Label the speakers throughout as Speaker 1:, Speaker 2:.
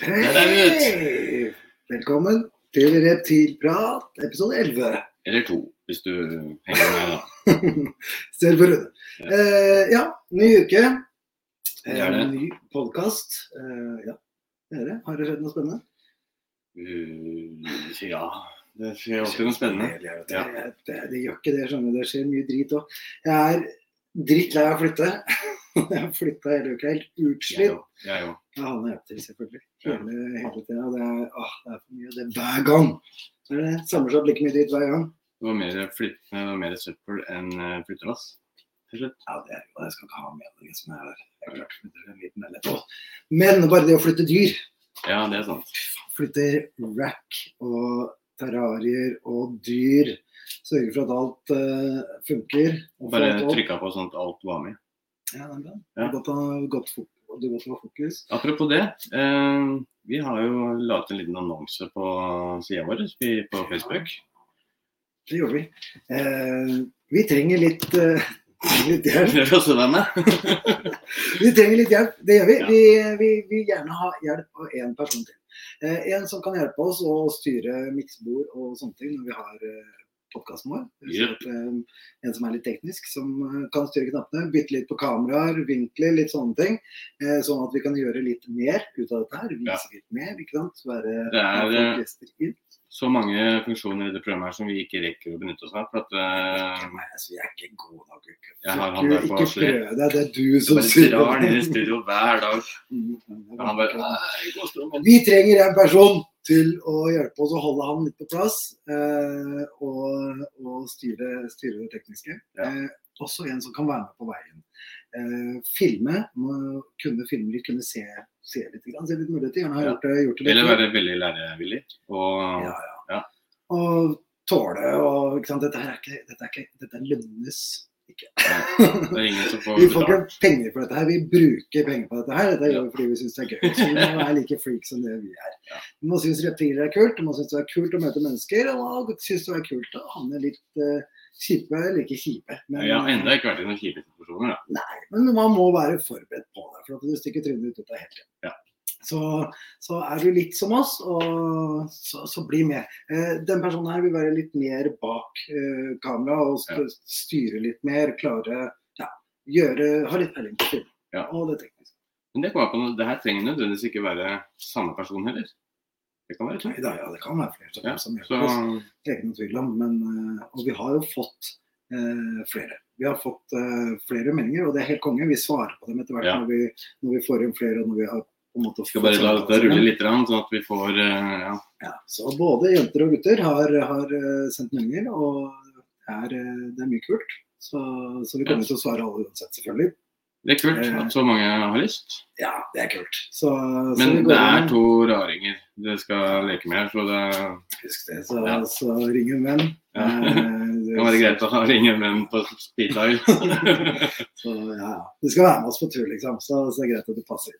Speaker 1: Der er vi ute.
Speaker 2: Hei! Velkommen til Reptilprat, episode 11.
Speaker 1: Eller to, hvis du henger med, da.
Speaker 2: Selv for Rune.
Speaker 1: Ja.
Speaker 2: Eh, ja, ny uke.
Speaker 1: Det er det.
Speaker 2: Eh, ny podkast. Eh, ja. Dere, har det skjedd noe spennende?
Speaker 1: Uh, ja. Det skjer alltid noe spennende.
Speaker 2: Ja. Det, det, det gjør ikke det, skjønner du. Det skjer mye drit òg. Jeg er drittlei av å flytte. Jeg har flytta hele uka, helt
Speaker 1: Jeg
Speaker 2: utslitt.
Speaker 1: jo. Jeg jo.
Speaker 2: Ja, han er etter, selvfølgelig. Hele, hele tida. Det, er- åh, det er for mye. Det er hver gang. Det er det. Samler seg opp like mye dritt hver gang.
Speaker 1: Det var mer, flytt, det var mer søppel enn eh, flyttelass til slutt.
Speaker 2: Ja, det er jo det. Jeg skal ikke ha med det som er her. Jeg klarte å flytte en liten leilighet også. Men bare det å flytte dyr.
Speaker 1: Ja, det er sant.
Speaker 2: Flytte rack og terrarier og dyr. Sørge for at alt eh, funker. Og for
Speaker 1: Bare
Speaker 2: at alt-
Speaker 1: trykka på sånn at alt var med.
Speaker 2: Ja, det er bra.
Speaker 1: Ja.
Speaker 2: Godt å ha godt fok- Du godt å ha fokus.
Speaker 1: Apropos det. eh, vi har jo laget en liten annonse på sida vår vi- på Facebook.
Speaker 2: Det gjorde vi. Eh, vi trenger litt, eh, litt hjelp.
Speaker 1: Prøv å se deg med.
Speaker 2: Vi trenger litt hjelp, det gjør vi.
Speaker 1: Ja.
Speaker 2: Vi vi vil gjerne ha hjelp av én person til. Eh, en som kan hjelpe oss å styre miksebord og sånne ting når vi har eh, podkasten vår. Det vil si
Speaker 1: Yep.
Speaker 2: at, eh, en som er litt teknisk, som eh, kan styre knappene. Bytte litt på kameraer, vinkler, litt sånne ting. Eh, sånn at vi kan gjøre litt mer ut av dette her. Vise
Speaker 1: Ja.
Speaker 2: litt mer, ikke sant. Være
Speaker 1: Det er, eh,
Speaker 2: ha folk gjester inn.
Speaker 1: Så mange funksjoner i det programmet her som vi ikke rekker å benytte oss av. For at eh,
Speaker 2: Nei, altså, jeg er ikke god nok. Ikke,
Speaker 1: Jeg har han
Speaker 2: ikke,
Speaker 1: der på
Speaker 2: ikke
Speaker 1: Asli.
Speaker 2: prøv deg, det er du som
Speaker 1: Bare
Speaker 2: styrer.
Speaker 1: drar ned i studio hver dag.
Speaker 2: Mm,
Speaker 1: Og han bare «Nei, gå og stå med».
Speaker 2: Vi trenger en person til å hjelpe oss å holde han litt på plass eh, og, og styre, styre det tekniske.
Speaker 1: Ja.
Speaker 2: Eh, også en som kan være med på veien. Eh, filme, må kunne filme litt, kunne se, se litt, grann, se litt muligheter. Gjerne ha
Speaker 1: Ja.
Speaker 2: gjort det, gjort det litt.
Speaker 1: Eller være veldig lærevillig. Og
Speaker 2: Ja, ja.
Speaker 1: Ja.
Speaker 2: Og tåle og ikke sant? Dette her er ikke, dette er ikke, dette lønnes ikke.
Speaker 1: det er ingen som får
Speaker 2: Vi får
Speaker 1: betalt.
Speaker 2: ikke penger for dette her, vi bruker penger på dette her. Dette gjør vi fordi vi syns det er gøy. Så vi må være like freak som det vi er.
Speaker 1: Ja.
Speaker 2: Du må synes reptiler er kult, du må synes det er kult å møte mennesker, og du synes det er kult å havne litt eh, kjipe eller ikke kjipe. Men,
Speaker 1: Jeg har enda ikke vært i noen kjipe situasjoner. Da.
Speaker 2: men man må være forberedt på det, for at du stikker trynet ut av hele tiden.
Speaker 1: Ja.
Speaker 2: Så, så er du litt som oss, og så, så bli med. Eh, den personen her vil være litt mer bak eh, kamera og st
Speaker 1: Ja.
Speaker 2: styre litt mer, klare ja, gjøre, ha litt peiling på film
Speaker 1: Ja.
Speaker 2: og det tekniske.
Speaker 1: Men det, kommer jeg på, nå, det her trenger nødvendigvis ikke være samme person heller. Det kan være
Speaker 2: Nei
Speaker 1: to.
Speaker 2: da, ja, det kan være flere som,
Speaker 1: Ja,
Speaker 2: som
Speaker 1: Så
Speaker 2: hjelper oss. Det er ikke noe tvil om. Men, eh, og vi har jo fått eh, flere. Vi har fått eh, flere meldinger, og det er helt konge. Vi svarer på dem etter hvert
Speaker 1: Ja.
Speaker 2: når, vi, når vi får inn flere. og når vi har på en måte
Speaker 1: skal bare la
Speaker 2: fått
Speaker 1: dette
Speaker 2: samtaler.
Speaker 1: rulle litt, grann, sånn at vi får eh, ja.
Speaker 2: Ja, så både jenter og gutter har, har eh, sendt meldinger, og det er, eh, det er mye kult. Så, så vi kommer til å svare alle uansett, selvfølgelig.
Speaker 1: Det er kult at så mange har lyst.
Speaker 2: Ja, det er kult. Så, så
Speaker 1: Men
Speaker 2: vi går
Speaker 1: det er
Speaker 2: inn-
Speaker 1: to raringer du skal leke med her, så det
Speaker 2: Husk det, så,
Speaker 1: Ja.
Speaker 2: så ring en venn.
Speaker 1: Ja.
Speaker 2: Eh,
Speaker 1: kan være greit å ha ringe menn på speed dial.
Speaker 2: Så ja, ja. Du skal være med oss på tur, liksom. Så, så er det greit at du passer.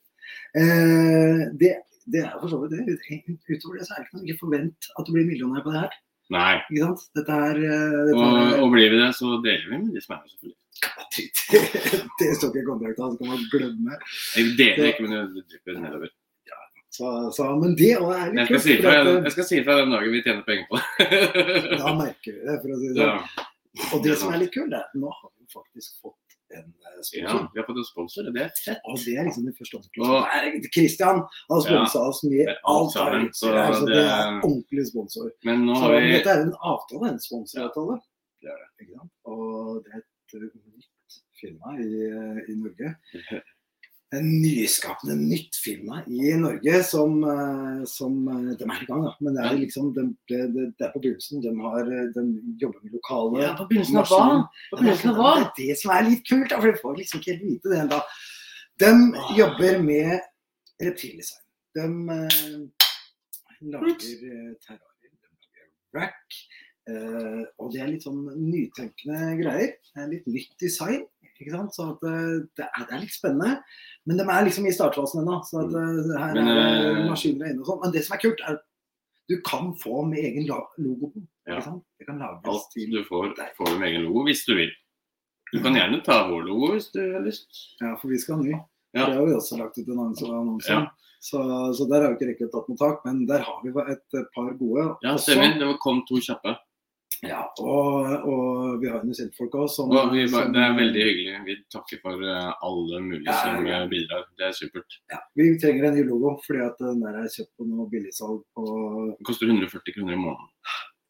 Speaker 2: Eh, det, det er for så vidt det. Ut- Utover det så er det ikke noe. Ikke forvent at du blir millionær på det her.
Speaker 1: Nei.
Speaker 2: Ikke sant? Dette er, eh, dette
Speaker 1: Og,
Speaker 2: er
Speaker 1: og blir vi det, så deler vi med de som er her, selvfølgelig.
Speaker 2: Det står ikke i kontrakten, så kan man glemme.
Speaker 1: Jeg deler ikke, men det drypper nedover.
Speaker 2: Så, så, men det også er
Speaker 1: Men
Speaker 2: litt
Speaker 1: Jeg skal, si
Speaker 2: for
Speaker 1: fra,
Speaker 2: at,
Speaker 1: jeg skal si fra den dagen vi tjener penger på
Speaker 2: eh,
Speaker 1: det.
Speaker 2: Da merker vi det, for å si det
Speaker 1: Ja,
Speaker 2: sånn. Og det som er litt kult, er at nå har vi faktisk fått en eh,
Speaker 1: ja,
Speaker 2: sponsor.
Speaker 1: vi har fått en sponsor, og det er fett.
Speaker 2: Og det er liksom det første
Speaker 1: Og-
Speaker 2: ordentlige. Kristian har sponsa oss med
Speaker 1: med alt
Speaker 2: alt av
Speaker 1: sammen,
Speaker 2: utstyr
Speaker 1: så
Speaker 2: her, så
Speaker 1: det
Speaker 2: Altså, det er
Speaker 1: er-
Speaker 2: ordentlig sponsor.
Speaker 1: Men nå
Speaker 2: Så
Speaker 1: har vi
Speaker 2: dette er en avtale, en sponsoravtale.
Speaker 1: Ja, det er
Speaker 2: Ikke sant? Og det er et uh, nytt firma i, uh, i Norge. En nyskapende nytt firma i Norge som, uh, som uh, De er i gang, da. Men det er liksom, de, det, det, det er på begynnelsen. De, har, uh, de jobber med lokale
Speaker 1: Ja, på begynnelsen av hva? På
Speaker 2: ja,
Speaker 1: begynnelsen av hva?
Speaker 2: Det er det som er litt kult, da, for du får liksom ikke helt vite det ennå. De
Speaker 1: Ah.
Speaker 2: jobber med reptildesign. De eh, lager eh, terrarier, de lager rack. eh, og det er litt sånn nytenkende greier. Det er litt nytt design. ikke sant? Så at, eh, det, er, det er litt spennende. Men de er liksom i startfasen ennå. Så at, eh, her
Speaker 1: Men,
Speaker 2: er det
Speaker 1: eh,
Speaker 2: maskiner inne og sånn. Men det som er kult, er at du kan få med egen la- logo.
Speaker 1: Ja.
Speaker 2: Ikke sant? Det kan lages
Speaker 1: alt
Speaker 2: til
Speaker 1: du får, får du med egen logo hvis du vil. Du kan gjerne ta vår logo hvis du har lyst.
Speaker 2: Ja, for vi skal ha ny.
Speaker 1: Ja.
Speaker 2: Det har vi også lagt ut en annonse annonse om.
Speaker 1: Ja.
Speaker 2: Så, så der har vi ikke riktig tatt noe tak, men der har vi et par gode.
Speaker 1: Ja,
Speaker 2: også.
Speaker 1: stemmer. Det kom to kjappe.
Speaker 2: Ja, og, og vi har jo noen folk òg som
Speaker 1: Og vi, var-
Speaker 2: som-
Speaker 1: det er veldig hyggelig. Vi takker for eh, alle mulige
Speaker 2: Ja,
Speaker 1: som
Speaker 2: ja.
Speaker 1: eh, bidrar. Det er supert.
Speaker 2: Ja, vi trenger en ny logo, fordi at den der er kjøpt på noe billigsalg på
Speaker 1: Det koster 140 kroner i måneden.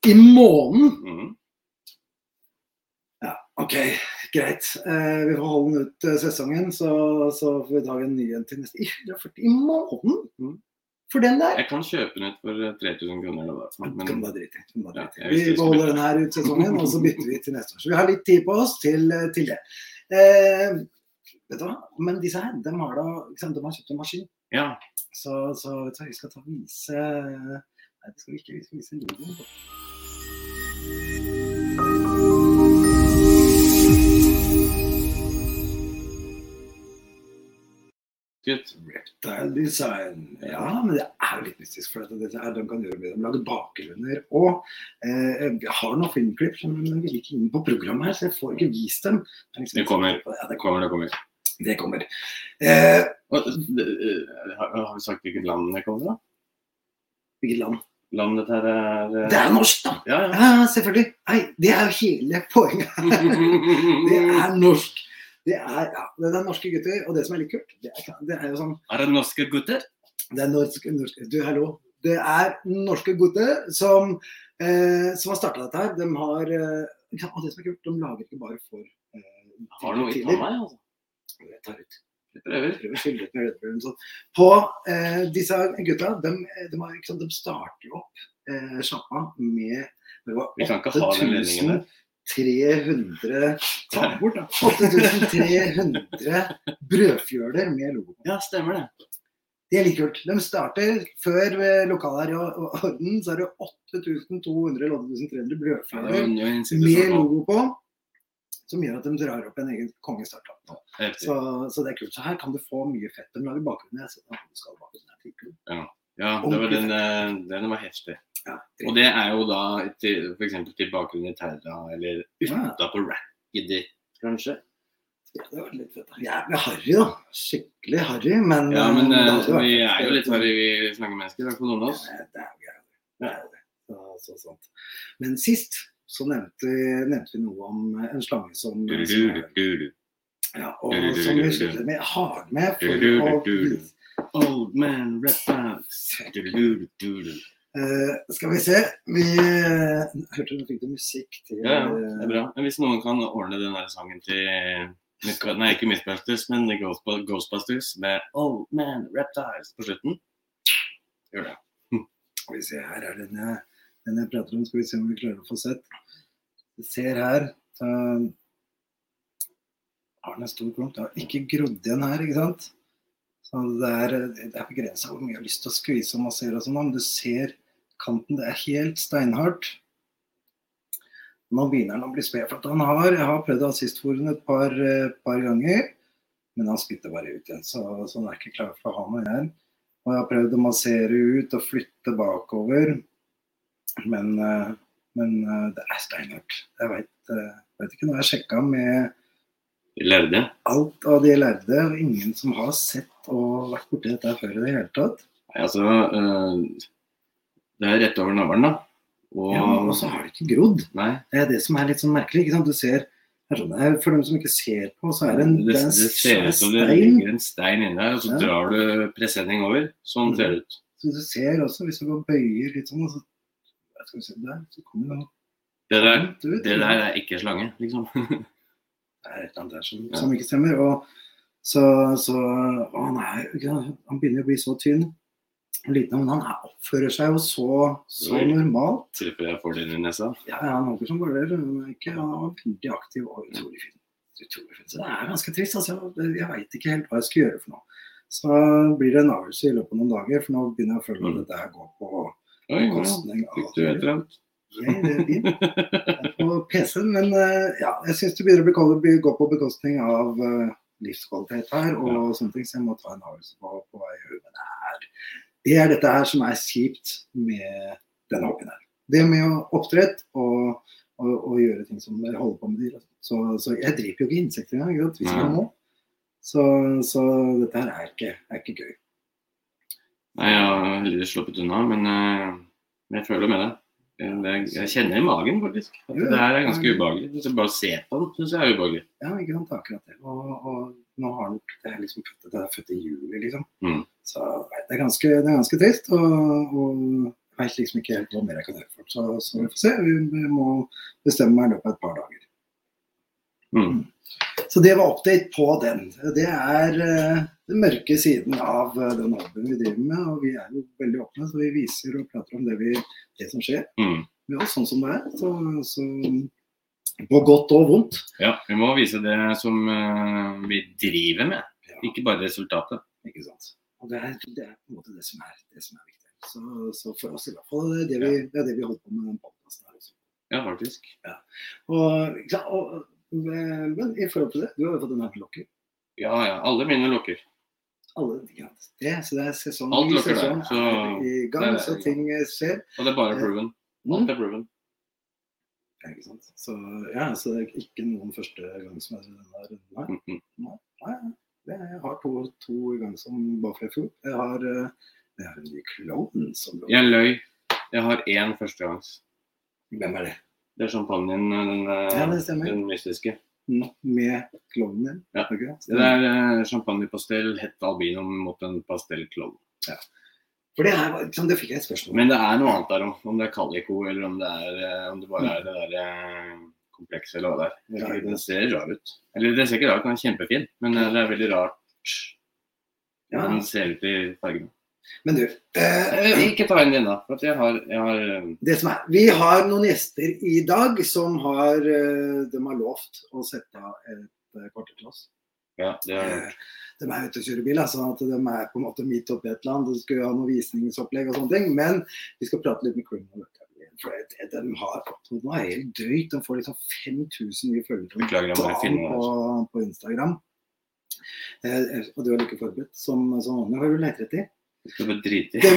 Speaker 2: I måneden!
Speaker 1: Mhm.
Speaker 2: Ja, OK, greit. Eh, vi får holde den ut eh, sesongen, så, så får vi ta en ny en til neste I 140 i måneden?
Speaker 1: Mm.
Speaker 2: For den der?
Speaker 1: Jeg kan kjøpe den ut for eh, 3000 kroner. eller hva det er for noe,
Speaker 2: Det kan du
Speaker 1: Men
Speaker 2: bare drite i. det kan du bare
Speaker 1: Ja,
Speaker 2: drite i.
Speaker 1: jeg visste
Speaker 2: Vi
Speaker 1: vi skulle
Speaker 2: beholder
Speaker 1: bytte.
Speaker 2: den her ut sesongen, og så bytter vi til neste år. Så vi har litt tid på oss til, til det. Eh, vet du hva? Men disse her, de har da ikke sant, de har kjøpt en maskin.
Speaker 1: ja,
Speaker 2: Så, så vet du hva, vi skal ta og vise Nei, det skal vi ikke. Vi skal vise logoen.
Speaker 1: gutt.
Speaker 2: Reptile design. Ja, men det er jo litt mystisk. For at dette her, de kan gjøre mye. De lager bakgrunner. Og eh, jeg har noen filmklipp, som- men de vil ikke inn på programmet her, så jeg får ikke vist dem. Det, er liksom-
Speaker 1: Det kommer.
Speaker 2: Ja,
Speaker 1: Det kommer, det kommer.
Speaker 2: det, det kommer. Eh,
Speaker 1: Og, eh, har, har vi sagt hvilket land det kommer fra?
Speaker 2: hvilket land?
Speaker 1: Landet her er eh,
Speaker 2: Det er norsk, da!
Speaker 1: Ja, ja.
Speaker 2: Ja, ja, selvfølgelig. Nei, det er jo hele poenget. Det
Speaker 1: Mm.
Speaker 2: er norsk. Det er, ja, det er norske gutter. Og det som er litt kult, det er, det er jo sånn
Speaker 1: Er det norske gutter?
Speaker 2: Det er norske, norske Du, hallo. Det er norske gutter som, eh, som har starta dette her. De har eh, ja, Og det som er kult, de lager ikke bare for eh,
Speaker 1: Har noe ikke
Speaker 2: til-
Speaker 1: av meg, altså.
Speaker 2: Jeg tar ut.
Speaker 1: Vi prøver.
Speaker 2: prøver å skille ut med rødbrød og sånn. På eh, disse gutta, de, de, har, ikke sant, de starter jo opp eh, sjappa med det var
Speaker 1: Vi kan ikke ha den ledningen der.
Speaker 2: 8300 Ta den bort, da. 8300 brødfjøler med logo.
Speaker 1: Ja, stemmer det.
Speaker 2: Det er like kult. De starter før eh, lokalherre og og orden, så er det 8200 eller 8300
Speaker 1: Ja, det er
Speaker 2: brødfjøler
Speaker 1: jo sånn. en
Speaker 2: med
Speaker 1: institusjon.
Speaker 2: logo på. Som gjør at de drar opp en egen kongestartup. nå. Så,
Speaker 1: Heftig.
Speaker 2: så det er kult. Så her kan du få mye fett. De lager bakgrunnen. Jeg har sett at han skal ha bakgrunnen. Det er kult.
Speaker 1: Ja, det var den, eh, den var heftig.
Speaker 2: Ja,
Speaker 1: Og det er jo da til- for eksempel til bakgrunnen i Terra, eller
Speaker 2: Ja.
Speaker 1: utapå racket ditt, kanskje.
Speaker 2: Ja, det var litt fett. da. Jævlig harry, da. Skikkelig harry, men
Speaker 1: Ja,
Speaker 2: men
Speaker 1: men
Speaker 2: det
Speaker 1: eh,
Speaker 2: hadde vært
Speaker 1: vi
Speaker 2: fett.
Speaker 1: er jo litt verre, vi slangemennesker, i hvert fall noen av oss.
Speaker 2: Ja, Det er jo gærent. Det er jo det. Så- så sant. Men sist så nevnte, nevnte vi noe om eh, en slange som, som er-
Speaker 1: Du-du-du-du-du.
Speaker 2: ja, og, som vi sliter med hardt med for å
Speaker 1: Du-du-du-du-du. Old man reptiles. Du-du-du-du-du.
Speaker 2: Eh, Skal vi se Vi eh, hørte du fikk det musikk til
Speaker 1: Ja, ja, det er bra. Men hvis noen kan ordne den der sangen til Mythba- Nei, ikke Mythbusters, men Ghostbu- Ghostbusters med Old Man Reptiles på slutten. Gjør det.
Speaker 2: Skal vi se, her er den jeg, den jeg prater om. Skal vi se om vi klarer å få sett. Vi ser her. Så har den en stor klump. Det har ikke grodd igjen her, ikke sant? Så det er, det er begrensa hvor mye jeg har lyst til å skvise og massere og sånn, men du ser kanten. Det er helt steinhardt. Nå begynner han å bli sped. for at han har, Jeg har prøvd assistforen et par, eh, par ganger, men han spytter bare ut igjen. Så, så han er ikke klar for å ha noe igjen. Og jeg har prøvd å massere ut og flytte bakover. Men, eh, men eh, det er steinhardt. Jeg veit ikke. Nå har jeg sjekka med
Speaker 1: Vi lærde.
Speaker 2: alt av de lærde, og ingen som har sett og vært borti dette her før i det hele tatt.
Speaker 1: Nei, altså eh, Det er rett over navlen, da. Og
Speaker 2: Ja, og så har det ikke grodd.
Speaker 1: Nei.
Speaker 2: Det er det som er litt sånn merkelig. ikke sant? Du ser, det er sånn, det er- For dem som ikke ser på, så er det en,
Speaker 1: det,
Speaker 2: det er en
Speaker 1: det ser ut som det
Speaker 2: stein.
Speaker 1: ligger en stein inni der, og så
Speaker 2: Ja.
Speaker 1: drar du presenning over. Sånn ser det ut.
Speaker 2: Så du ser også, hvis du bare bøyer litt sånn, og så, skal vi se, der, så kommer det noe
Speaker 1: Det der,
Speaker 2: annet ut.
Speaker 1: det der er ikke slange, liksom.
Speaker 2: Det er et eller annet der som,
Speaker 1: Ja.
Speaker 2: som ikke stemmer. Og så, så å nei, ikke sant, Han begynner å bli så tynn. og Liten, men han er- oppfører seg jo så, så
Speaker 1: Oi.
Speaker 2: normalt.
Speaker 1: Treffer jeg får den i nesa.
Speaker 2: Ja, ja, han håper som bare det. men ikke- Han var veldig aktiv og utrolig fin. Utrolig fin. Så det er ganske trist. altså. Jeg- Jeg veit ikke helt hva jeg skal gjøre for noe. Så blir det en avgjørelse i løpet av noen dager, for nå begynner jeg å føle at
Speaker 1: Mm.
Speaker 2: dette her går på
Speaker 1: Oi, ja.
Speaker 2: bekostning av
Speaker 1: Fikk du et eller annet?
Speaker 2: Nei, det er fint. Det er på PC-en, men eh, ja, jeg syns det begynner å bli kald- bli- gå på bekostning av eh, livskvalitet her og sånne ting, så jeg må ta en avgjørelse på, på hva jeg gjør. Men det er, det er dette her som er kjipt med denne hobbyen her. Det med å oppdrett og, altså. og, og gjøre ting som jeg holder på med dyr. Så, så jeg driver jo ikke insekter engang, ikke sant, hvis jeg
Speaker 1: Nei.
Speaker 2: må. Så, så dette her er ikke, er ikke gøy.
Speaker 1: Nei, jeg har heldigvis sluppet unna, men eh, men jeg føler med deg. Eh, det er- Jeg kjenner i magen, faktisk. At
Speaker 2: Jo,
Speaker 1: det her er ganske
Speaker 2: ja.
Speaker 1: ubehagelig. Hvis jeg bare ser på den, syns jeg er ubehagelig.
Speaker 2: Ja, ikke sant, akkurat det. Og, og nå har han det er liksom født, det er født i juli, liksom.
Speaker 1: Mm.
Speaker 2: Så nei, det er ganske, det er ganske trist. Og, og jeg vet liksom ikke helt hva mer jeg kan gjøre for det. Så, så vi får se. Vi, vi må bestemme meg i løpet av et par dager.
Speaker 1: Mm.
Speaker 2: Så det var update på den. Det er eh, den mørke siden av eh, den albumen vi driver med. Og vi er jo veldig åpne, så vi viser og prater om det, vi, det som skjer
Speaker 1: Mm.
Speaker 2: med oss, sånn som det er. Så, så på godt og vondt.
Speaker 1: Ja, vi må vise det som eh, vi driver med,
Speaker 2: Ja.
Speaker 1: ikke bare resultatet.
Speaker 2: Ikke sant? Og det er, det er på en måte det som er, det som er viktig. Så, så for oss i hvert fall, det er det vi, det er det vi holder på med den podcasten her også.
Speaker 1: Ja, faktisk.
Speaker 2: Og, ikke sant? Og, men, men i forhold til det, du har jo fått en her til lokker.
Speaker 1: Ja, ja. Alle mine lukker.
Speaker 2: Alle ikke sant? Det, så det er sesong,
Speaker 1: Alt lokker der,
Speaker 2: sesong
Speaker 1: så-
Speaker 2: er i
Speaker 1: der
Speaker 2: gang,
Speaker 1: er
Speaker 2: så
Speaker 1: det.
Speaker 2: ting eh, skjer.
Speaker 1: Og det er bare
Speaker 2: Ja.
Speaker 1: proven.
Speaker 2: Mm.
Speaker 1: Alt er proven.
Speaker 2: Ja, Ikke sant? Så, ja, så det er ikke noen første gang som er denne runden her.
Speaker 1: Mm, mm.
Speaker 2: Nei, det er, jeg har to, to i gang som bare fra i fjor. Jeg har, eh, jeg har en ny klovn som lå.
Speaker 1: Jeg løy. Jeg har én førstegangs.
Speaker 2: Hvem er det?
Speaker 1: Det er champagnen, den, eh,
Speaker 2: Ja, det stemmer.
Speaker 1: den mystiske.
Speaker 2: Mm, Med klovnen din.
Speaker 1: Ja.
Speaker 2: er det ikke
Speaker 1: Det er eh, champagnepastell, hett albino mot en pastellklovn.
Speaker 2: For det, her var, ikke sant, det fikk jeg et spørsmål om.
Speaker 1: Men det er noe annet der òg. Om det er Calico eller om det, er, eh, om det bare er det der eh, komplekset eller hva det er. Jeg vet ikke, Den ser rar ut. Eller det ser ikke rar ut, den er kjempefin. Men eh, det er veldig rart.
Speaker 2: Ja.
Speaker 1: Den ser ut i fargene.
Speaker 2: Men du, eh,
Speaker 1: Eh, Ikke ta inn denne, for at jeg har, jeg har eh,
Speaker 2: det som er, vi har noen gjester i dag som har, eh, de har lovt å sette av et eh, kvarter til oss.
Speaker 1: Ja, det er
Speaker 2: Eh, De er ute og kjører bil, altså, at de er på en måte midt oppe i et eller annet. De skal ha noe visningsopplegg og sånne ting. Men vi skal prate litt med Criminal Academy. For det- det de har nå er helt drøyt. De får liksom 5000 nye følgere om
Speaker 1: Beklager, jeg må bare finne
Speaker 2: dagen
Speaker 1: det.
Speaker 2: på, på Instagram. Eh, og du er like forberedt som, som vanlig. Har du leterett i?
Speaker 1: Jeg skal bare drite i.
Speaker 2: De,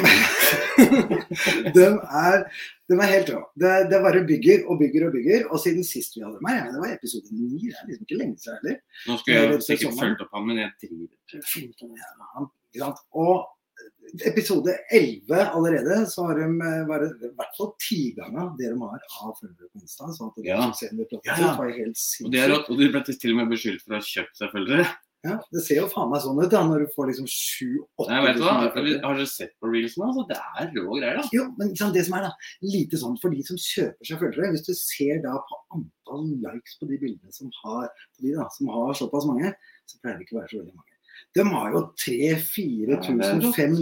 Speaker 2: de, er, de er helt rå. Det, det bare bygger og bygger og bygger. Og siden sist vi hadde dem her, ja, det var episode 9, det er liksom ikke lenge siden heller.
Speaker 1: Nå skulle
Speaker 2: Det er
Speaker 1: jeg
Speaker 2: litt
Speaker 1: sikkert
Speaker 2: sesongen.
Speaker 1: fulgt opp han, men jeg driver.
Speaker 2: Fint om det er med han, ikke sant? Og eh, episode 11 allerede, så har de eh, bare i hvert fall tigangen det de har av følgere på Insta. Så at det
Speaker 1: Ja.
Speaker 2: suksessen vi pratet
Speaker 1: Ja,
Speaker 2: om,
Speaker 1: ja.
Speaker 2: var helt
Speaker 1: Og det er
Speaker 2: sinnssykt.
Speaker 1: rått. Og du ble til og med beskyldt for å ha kjøpt seg følgere.
Speaker 2: Ja, det ser jo faen meg sånn ut da, når du får liksom 7-8
Speaker 1: Nei, vet du hva? Har dere sett på reelsene? Altså, det er rå greier, da.
Speaker 2: Jo, men ikke sant, det som er da, lite sånn for de som kjøper seg følgere, hvis du ser da på antall likes på de bildene som har, på de da, som har såpass mange, så pleier det ikke å være så veldig mange. De har jo 3-4
Speaker 1: Ja, det er
Speaker 2: 000,
Speaker 1: rått.
Speaker 2: 5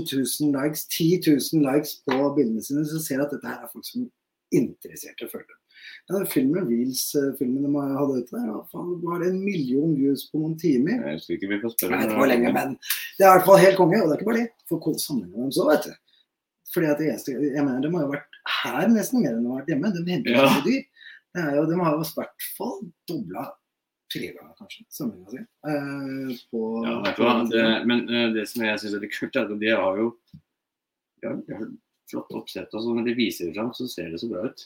Speaker 2: 000 likes, 10 000 likes på bildene sine, så ser du at dette her er folk som er interesserte følgere. Ja, den filmen, Reels-filmen de hadde ute der, ja, faen, det var en million views på noen timer.
Speaker 1: Jeg husker ikke, vi
Speaker 2: Jeg
Speaker 1: får spørre.
Speaker 2: vet ikke hvor lenge, men det er i hvert fall helt konge. Og det er ikke bare det. For hvordan sammenligner dem så, vet du. Fordi at det eneste, jeg mener, De har jo vært her nesten mer enn de har vært hjemme. De henter jo
Speaker 1: Ja.
Speaker 2: dyr. Det er jo, de har jo i hvert fall dobla tre ganger, kanskje, sammenligna si. Eh, på,
Speaker 1: Ja, vet du hva? Det, men eh, det som jeg syns er litt kult, er at de har jo de har, de har flott oppsett og sånn. Når de viser det fram, så ser det så bra ut.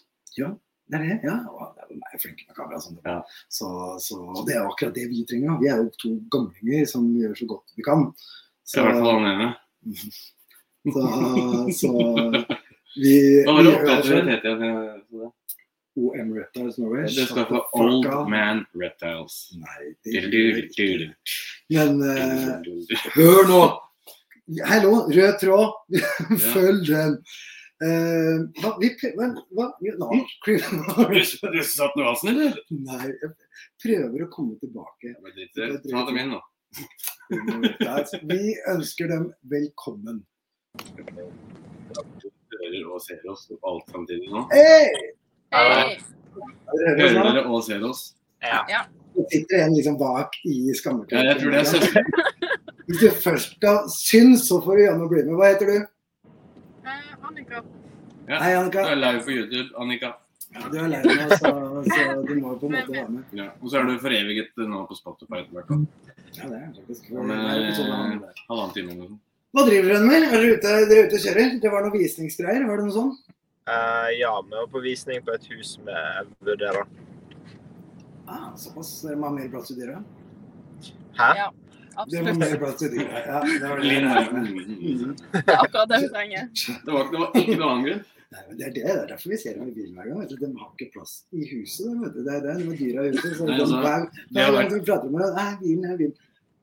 Speaker 2: Det er det, ja. Og de er jo flinke med kamera. Sånn.
Speaker 1: Ja.
Speaker 2: Så, så og det er jo akkurat det vi trenger. da. Vi er jo to gamlinger som gjør så godt vi kan.
Speaker 1: Så, I hvert fall han ene.
Speaker 2: så, så vi,
Speaker 1: Hva var det
Speaker 2: vi gjør
Speaker 1: opptatt
Speaker 2: selv.
Speaker 1: av? heter jeg? det?
Speaker 2: OM Reptiles Norway.
Speaker 1: Det
Speaker 2: Shut
Speaker 1: står
Speaker 2: the
Speaker 1: for
Speaker 2: fuck
Speaker 1: Old
Speaker 2: up.
Speaker 1: Man Reptiles.
Speaker 2: Nei, det gjør det ikke.
Speaker 1: Du-du-du-du-du.
Speaker 2: Men eh, hør nå! Hallo, rød tråd. Følg den. Eh, hva, vi prøver, men, hva, jo, nå,
Speaker 1: Du du satt noe halsen, eller?
Speaker 2: Nei, jeg prøver å komme tilbake.
Speaker 1: Jeg ble dritt. Ta dem inn nå.
Speaker 2: Vi ønsker dem velkommen.
Speaker 1: Hører og ser oss på alt samtidig nå.
Speaker 2: Hei!
Speaker 1: Hei.
Speaker 2: Hører
Speaker 1: Hører
Speaker 2: dere nå?
Speaker 1: dere og ser oss?
Speaker 2: Det sitter en liksom bak i
Speaker 1: Ja, jeg tror det er
Speaker 2: skammekroken.
Speaker 1: søsteren.
Speaker 2: Hvis du først da syns, så får du jammen bli med. Hva heter du?
Speaker 3: Eh, Annika.
Speaker 1: Ja.
Speaker 2: Hei, Annika.
Speaker 1: Du er live på YouTube, Annika.
Speaker 2: Ja, Du er lei deg, så, så du må jo på en måte være med.
Speaker 1: Ja. Og så er du foreviget nå på Spotify etter hvert. da.
Speaker 2: Ja, det er faktisk
Speaker 1: Om
Speaker 2: det er ikke sånn det
Speaker 1: eh,
Speaker 2: handler om.
Speaker 1: halvannen time eller noe.
Speaker 2: Hva driver dere med? Er dere ute, dere er ute og kjører? Det var noen visningsgreier, var det noe sånt?
Speaker 4: Eh, ja, vi var på visning på et hus vi vurderer.
Speaker 2: Ah, såpass. Dere må ha mer plass til dyra.
Speaker 4: Hæ?
Speaker 3: Ja.
Speaker 2: Det var
Speaker 3: Absolutt.
Speaker 2: mer Brad Studio. Ja, det var det.
Speaker 1: Linn Herman. Mm.
Speaker 3: Det er akkurat det hun trenger.
Speaker 1: Det var, det var ikke noen annen grunn.
Speaker 2: Nei, men det, er det, det er derfor vi ser dem i bilen hver gang. Vet du. De har ikke plass i huset. De, vet du. Det er det når dyra er ute. Så
Speaker 1: Nei,
Speaker 2: de,
Speaker 1: altså,
Speaker 2: hver,
Speaker 1: det har
Speaker 2: hver gang de prater med dem Nei, bilen er bilen.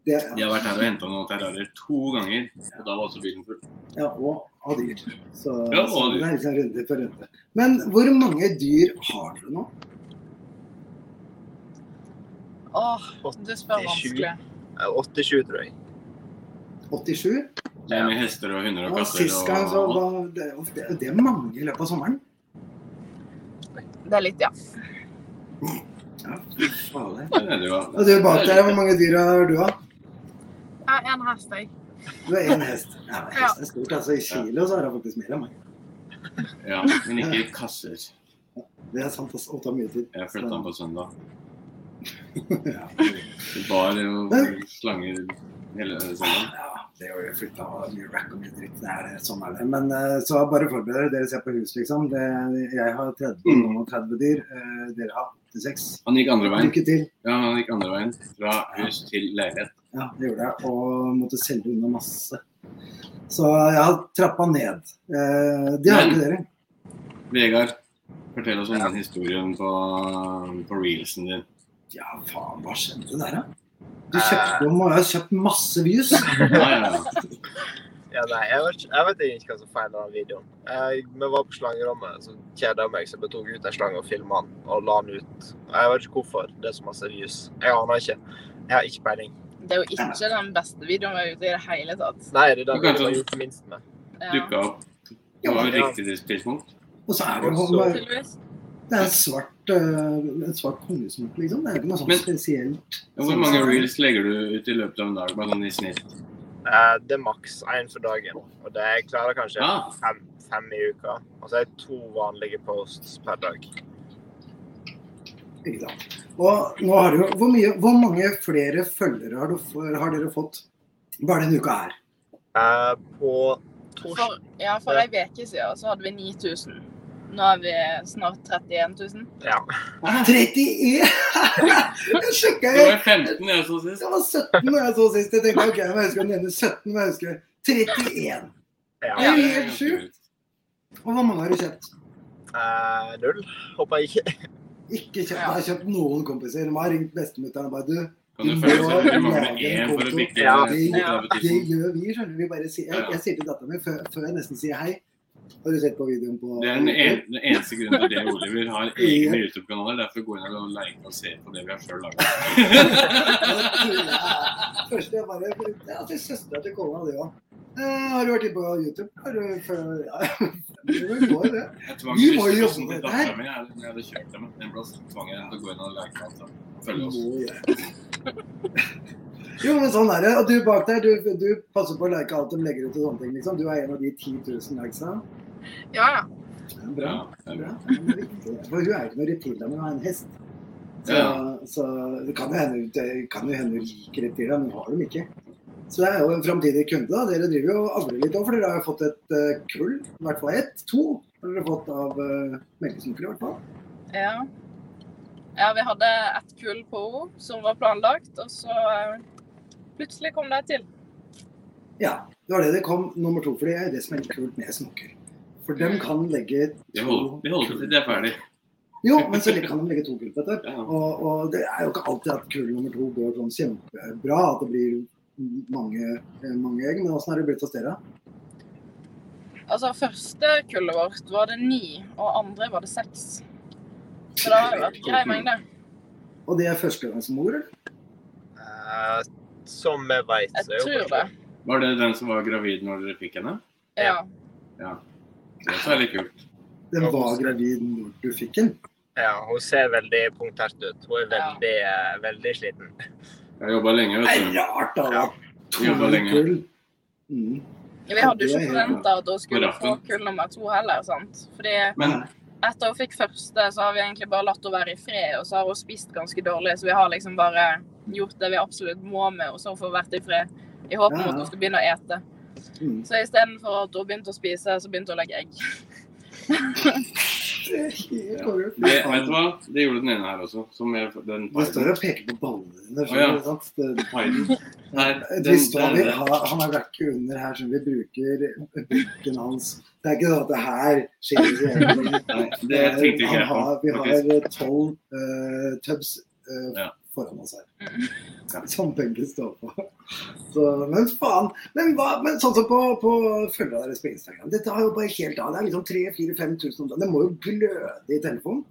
Speaker 2: Det,
Speaker 1: De har vært her og henta noen terrarier to ganger, og da var også bilen full.
Speaker 2: ja, og av dyr. Så,
Speaker 1: Ja, og
Speaker 2: så
Speaker 1: av dyr.
Speaker 2: det er liksom runde på runde. Men hvor mange dyr har dere nå?
Speaker 3: Åh, du spør vanskelig.
Speaker 4: 87, Eh, tror jeg.
Speaker 2: 87?
Speaker 1: Det er med hester og hunder og
Speaker 2: Og
Speaker 1: katter
Speaker 2: sist gang så
Speaker 1: og
Speaker 2: var det, og det, det er mange i løpet av sommeren.
Speaker 3: Det er litt, ja.
Speaker 2: Ja, fy fader.
Speaker 1: Det er det jo.
Speaker 2: Og du bak der, hvor mange dyr har du, da?
Speaker 3: Jeg er en hest, jeg.
Speaker 2: Du er én hest. Ja, men hest er stort. Altså, I kilo så er det faktisk mer enn meg.
Speaker 1: Ja, men ikke i kasser.
Speaker 2: Det er sant. Altså, og tar mye tid.
Speaker 1: Jeg flytta den på søndag.
Speaker 2: Ja.
Speaker 1: Det var jo slanger hele søndagen.
Speaker 2: ja, det å flytte og mye rack og mye dritt, det er det, sånn er det. Men eh, så bare forbered dere. Dere ser på hus, liksom. Det, jeg har 30,
Speaker 1: Mm.
Speaker 2: noen og 30 dyr. Eh, dere har 86.
Speaker 1: Han gikk andre veien.
Speaker 2: Lykke til.
Speaker 1: Ja, han gikk andre veien. Fra hus til leilighet.
Speaker 2: Ja, det gjorde jeg. Og måtte selge unna masse. Så jeg har trappa ned. Eh, det har
Speaker 1: Men-
Speaker 2: ikke dere.
Speaker 1: Vegard, fortell oss om den historien på, på reelsen din.
Speaker 2: Ja, faen, hva skjedde der, da? Du kjøpte om, og jeg har kjøpt masse views.
Speaker 1: Ja, ja, ja.
Speaker 4: Ja, nei, jeg vet, ikke- jeg vet egentlig ikke hva som feiler den videoen. Jeg, vi var på slangerommet, så kjeda jeg meg, så jeg tok ut en slange og filma den og la den ut. Jeg vet ikke hvorfor det er så masse views. Jeg aner ikke. Jeg har ikke peiling.
Speaker 3: Det er jo ikke den beste videoen vi er ute i det hele tatt.
Speaker 4: Nei, det er den
Speaker 1: Du kan
Speaker 4: videoen jeg
Speaker 1: ta-
Speaker 4: har gjort minst med.
Speaker 3: Ja.
Speaker 1: Dukka opp. Det var jo riktig tidspunkt.
Speaker 2: Og så er det jo
Speaker 4: Også-
Speaker 3: Tydeligvis.
Speaker 2: Det er en svart, øh, en svart kongesmokk, liksom. Det er ikke noe sånn
Speaker 1: Men-
Speaker 2: spesielt.
Speaker 1: Hvor mange reels legger du ut i løpet av en dag? Bare sånn i snitt.
Speaker 4: Eh, Det er maks én for dagen. Og det jeg klarer kanskje
Speaker 1: Ja.
Speaker 4: fem, fem i uka. Og så er det to vanlige posts per dag.
Speaker 2: Ikke sant? Og nå har du jo hvor, mye, hvor mange flere følgere har, du, for- har dere fått bare denne uka her?
Speaker 4: Eh, På torsdag
Speaker 3: For, ja, for ei uke siden så hadde vi 9000. Nå er vi snart 31 000.
Speaker 4: Ja.
Speaker 1: Ah.
Speaker 2: 31! jeg sjekka
Speaker 1: Det
Speaker 2: jo.
Speaker 1: var 15 jeg så sist.
Speaker 2: Det var 17 da jeg så sist. Jeg tenkte OK, jeg må huske å nevne 17, men jeg husker 31. Det
Speaker 4: ja.
Speaker 2: er jo helt sjukt. Og hvor mange har du kjøpt?
Speaker 4: Eh, Null, håper jeg ikke.
Speaker 2: Ikke kjøpt. Jeg har kjøpt noen kompiser. De har ringt bestemutteren og bare Du,
Speaker 1: Kan du føle seg at du mangler én for å bikke
Speaker 4: Ja.
Speaker 1: 30
Speaker 2: Det
Speaker 1: 000?
Speaker 2: gjør vi, skjønner du. Vi bare sier, jeg, jeg sier til datteren min før, før jeg nesten sier hei. Har du sett på videoen på
Speaker 1: Det er den en, den eneste grunnen til det Oliver har egne YouTube-kanaler. Det er for å gå inn og like og se på det vi har sjøl laga.
Speaker 2: Først jeg bare Ja, til søstera til kona, det òg. Eh, har du vært inne på YouTube? Har du før, ja, det går, det.
Speaker 1: Jeg tvang
Speaker 2: Vi må jo jobbe
Speaker 1: søsteren
Speaker 2: med
Speaker 1: til
Speaker 2: det
Speaker 1: datteren min, jeg- når jeg hadde kjørt dem en plass, tvang jeg henne til å gå inn og like alt sammen. Følge oss.
Speaker 2: Må gjøre. Jo, men sånn er det. Og du bak der, du, du passer på å like alt de legger ut og sånne ting, liksom. Du er en av de 10 000 likesa.
Speaker 3: Ja, ja.
Speaker 2: Ja, Bra.
Speaker 1: Ja, det er bra.
Speaker 2: Bra. Ja, men det er viktig. For hun er ikke noe reptiler, men hun er en hest. Så,
Speaker 1: Ja.
Speaker 2: så det kan jo hende det kan jo hende hun liker reptiler, men hun har dem ikke. Så det er jo en framtidig kunde. da. Dere driver jo og avler litt òg, for dere har jo fått et eh, kull. I hvert fall ett. To har dere fått av uh, melkesnokere, i hvert fall.
Speaker 3: Ja. ja, vi hadde ett kull på henne som var planlagt, og så eh, plutselig kom det et til.
Speaker 2: Ja. Det var det det kom nummer to, for det er det som er litt kult med snoker. For dem kan legge
Speaker 1: Det holder det holder til de er ferdig.
Speaker 2: Jo, men så kan de legge to kull på dette.
Speaker 1: Ja.
Speaker 2: Og, og det er jo ikke alltid at kull nummer to går sånn kjempebra, at det blir mange, mange egg. Men åssen er det blitt hos dere?
Speaker 3: Altså, første kullet vårt var det ni, og andre var det seks. Så det har jo vært grei mengde.
Speaker 2: Og det er førstegangsmor, eller?
Speaker 4: Eh, Som vi veit,
Speaker 3: Jeg
Speaker 4: så er jo
Speaker 3: tror det.
Speaker 1: Var det den som var gravid når dere fikk henne?
Speaker 3: Ja.
Speaker 1: Det er litt kult.
Speaker 2: Den
Speaker 4: Ja,
Speaker 2: var
Speaker 4: hos-
Speaker 2: gravid når du fikk den.
Speaker 4: Ja, hun ser veldig punktert ut. Hun er
Speaker 3: Ja.
Speaker 4: veldig, eh, veldig sliten.
Speaker 1: Jeg jobba lenge,
Speaker 2: Det er
Speaker 1: vet du.
Speaker 2: rart, da.
Speaker 4: Ja.
Speaker 2: da.
Speaker 1: Jobba
Speaker 2: To
Speaker 1: lenge.
Speaker 2: kull. Mm.
Speaker 3: Vi hadde jo ikke forventa at hun skulle få
Speaker 1: Raffen.
Speaker 3: kull nummer to heller, sant. Fordi
Speaker 1: Men
Speaker 3: etter hun fikk første, så har vi egentlig bare latt henne være i fred, og så har hun spist ganske dårlig, så vi har liksom bare gjort det vi absolutt må med, og så har hun fått vært i fred. I håp om
Speaker 2: Ja, ja.
Speaker 3: at hun skal begynne å ete.
Speaker 2: Mm.
Speaker 3: Så istedenfor at hun begynte å spise, så begynte hun å legge egg.
Speaker 2: Det er helt konge.
Speaker 1: Det, vet du hva? Det gjorde den ene her også. Som jeg, den
Speaker 2: Det står og peker på ballene dine. skjønner du, sant? Det-
Speaker 1: Biden. Nei,
Speaker 2: Vi
Speaker 1: den,
Speaker 2: står,
Speaker 1: den,
Speaker 2: vi
Speaker 1: den,
Speaker 2: har, han er vekk under her, som vi bruker bruken hans. Det er ikke sånn at det her skjer i øynene.
Speaker 1: Nei, det tenkte ikke
Speaker 2: Eh, Han
Speaker 1: jeg på.
Speaker 2: har- Vi har tolv uh, tubs eh,
Speaker 1: Ja.
Speaker 2: foran oss her.
Speaker 1: Ja.
Speaker 2: Som begge står på. Så, men faen. Men, hva, men sånn som på, på følgerne deres på Instagram. Dette har jo bare helt av. Det er liksom 3000-4000 om dagen. Det må jo gløde i telefonen.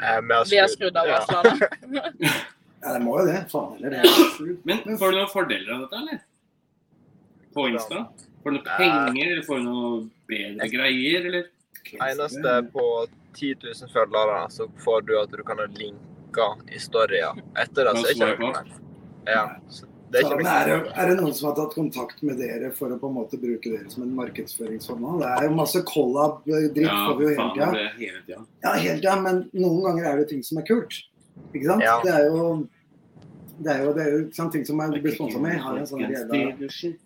Speaker 4: Eh, vi har
Speaker 3: Vi har skrudd av
Speaker 4: ja.
Speaker 3: varslene.
Speaker 2: Ja, det må jo det. Faen heller. Det er absolutt.
Speaker 1: Men får du noen fordeler av dette, eller? På Insta? Får du noe
Speaker 4: Nei.
Speaker 1: penger, eller får du noe bedre greier, eller?
Speaker 4: Eneste på 10 000 følgere, så får du at du kan ha linker i storyer. Etter det så er ikke det noe mer. Ja, så det er
Speaker 2: Så,
Speaker 4: ikke
Speaker 2: men
Speaker 4: noe
Speaker 2: er, det, er det noen som har tatt kontakt med dere for å på en måte bruke dere som en markedsføringsformann? Det er jo masse collab-dritt
Speaker 1: Ja,
Speaker 2: får vi jo hele
Speaker 1: faen, det
Speaker 2: tida.
Speaker 1: ble hele tida.
Speaker 2: Ja, hele tida, men noen ganger er det ting som er kult. Ikke sant?
Speaker 4: Ja.
Speaker 2: Det er jo det er jo, det er jo ikke sant, ting som jeg blir sponsa med. Jeg har en sånn jævla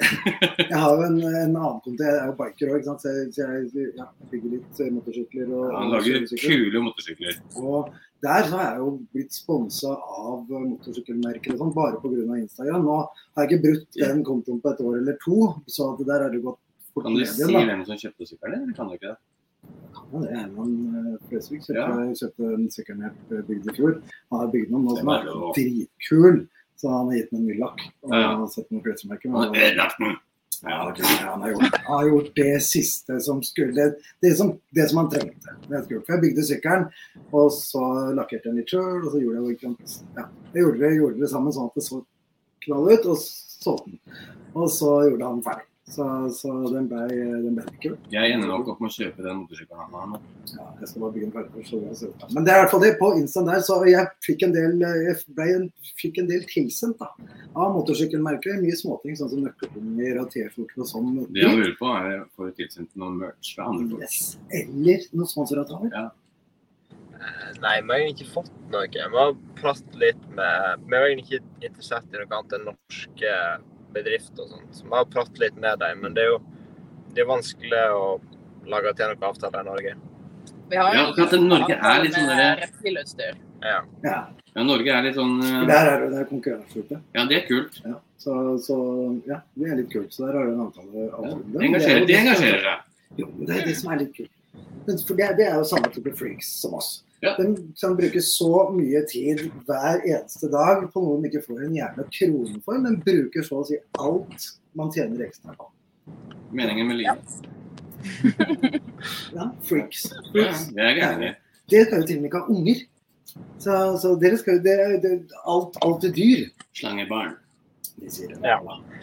Speaker 2: Jeg har jo en, en annen konto, jeg er jo biker òg, så jeg, så jeg ja, bygger litt eh, motorsykler og, og
Speaker 1: Han lager
Speaker 2: sykler.
Speaker 1: kule motorsykler.
Speaker 2: Og der så har jeg jo blitt sponsa av eh, motorsykkelmerker og sånn, bare pga. Instagram. Nå har jeg ikke brutt den kontoen på et år eller to, så at der er det gått fort
Speaker 1: Kan du
Speaker 2: ned
Speaker 1: si
Speaker 2: igjen. da.
Speaker 1: hvem som kjøpte sykkelen, eller kan du ikke det?
Speaker 2: Ja, det er Herman eh, Flesvig. Kjøpte,
Speaker 1: Ja.
Speaker 2: kjøpte den sykkelen jeg bygde i fjor. Han har bygd noen nå som
Speaker 1: Den er
Speaker 2: er
Speaker 1: lov.
Speaker 2: dritkul, så han har gitt den en ny lakk. Og
Speaker 1: Ja.
Speaker 2: han har sett noen klesmerker.
Speaker 1: Han
Speaker 2: men-
Speaker 1: har ødelagt den.
Speaker 2: Ja,
Speaker 1: Ja,
Speaker 2: det er- han har gjort, han har gjort det siste som skulle Det, det, som, det som han trengte. Det er kult, for jeg bygde sykkelen, og så lakkerte jeg den litt sjøl, og så gjorde jeg, ikke sant, ja, jeg gjorde, det, gjorde det sammen sånn at det så knall ut, og solgte den. Og så gjorde han den ferdig. Så, så den ble, den ble kul.
Speaker 1: Jeg ender nok opp med å kjøpe den motorsykkelen han har nå.
Speaker 2: Ja, jeg skal bare bygge den ferdig først. så vil jeg se ut. Men det er i hvert fall det. På Insta der, så jeg fikk en del, jeg ble en, fikk en del tilsendt da, av motorsykkelmerker. Mye småting, sånn som nøkkelhunger og T-skjorter og sånn.
Speaker 1: Det jeg lurer på, er får du tilsendt noe merch fra andre folk?
Speaker 2: Yes. Eller noen sponsoravtaler.
Speaker 4: Nei, vi har egentlig ikke fått noe. Vi har pratet litt med Vi er egentlig ikke interessert i noe annet enn norske bedrifter og sånt. Så vi har pratet litt med dem, men det er jo det er vanskelig å lage til noen avtaler i Norge.
Speaker 3: Vi har
Speaker 1: Ja, akkurat det. Norge er litt sånn
Speaker 3: med
Speaker 1: der-
Speaker 3: reptilutstyr.
Speaker 4: Ja.
Speaker 2: Ja.
Speaker 1: Ja, Norge er litt sånn
Speaker 2: for
Speaker 1: eh,
Speaker 2: Der er det, det er konkurranseute.
Speaker 1: Ja, det er kult.
Speaker 2: Ja. Så, så ja, det er litt kult. Så der har du en avtale.
Speaker 1: Ja,
Speaker 2: avtale.
Speaker 1: Det engasjerer, det engasjerer seg.
Speaker 2: Jo, men det er det som er litt kult. Men For det, det er jo samme type freaks som oss.
Speaker 1: Ja.
Speaker 2: De som bruker så mye tid hver eneste dag på noe de ikke får en jævla krone for, men bruker så å si alt man tjener ekstra på.
Speaker 1: Meningen med livet.
Speaker 2: Ja, freaks.
Speaker 1: Ja, det er jeg enig i.
Speaker 2: Dere skal jo til og med ikke ha unger. Så, så dere skal jo dere, dere, alt, alt er dyr.
Speaker 1: Slangebarn.
Speaker 2: De sier det.
Speaker 4: Ja.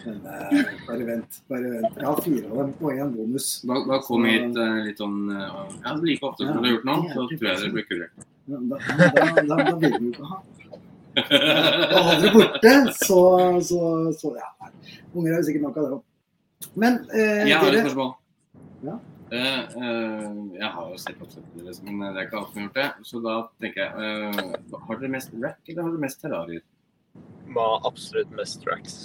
Speaker 2: Men eh, bare vent, bare vent. Jeg har fire av dem og én bonus.
Speaker 1: Da, da kom hit eh, litt sånn eh, Ja, like ofte som du har gjort nå, så tror jeg det blir kulere.
Speaker 2: Da, da, da, da vil du ikke ha. Da holder du borte, så, så, så ja. Unger er jo sikkert nok av det òg. Men eh,
Speaker 1: Jeg har et
Speaker 2: dere
Speaker 1: spørsmål.
Speaker 2: Ja.
Speaker 1: Eh, eh, jeg har jo sett oppsettet deres, men det er ikke alt som har gjort det. Så da tenker jeg eh, Har dere mest rack, eller har dere mest terrarier?
Speaker 4: Vi har absolutt mest tracks.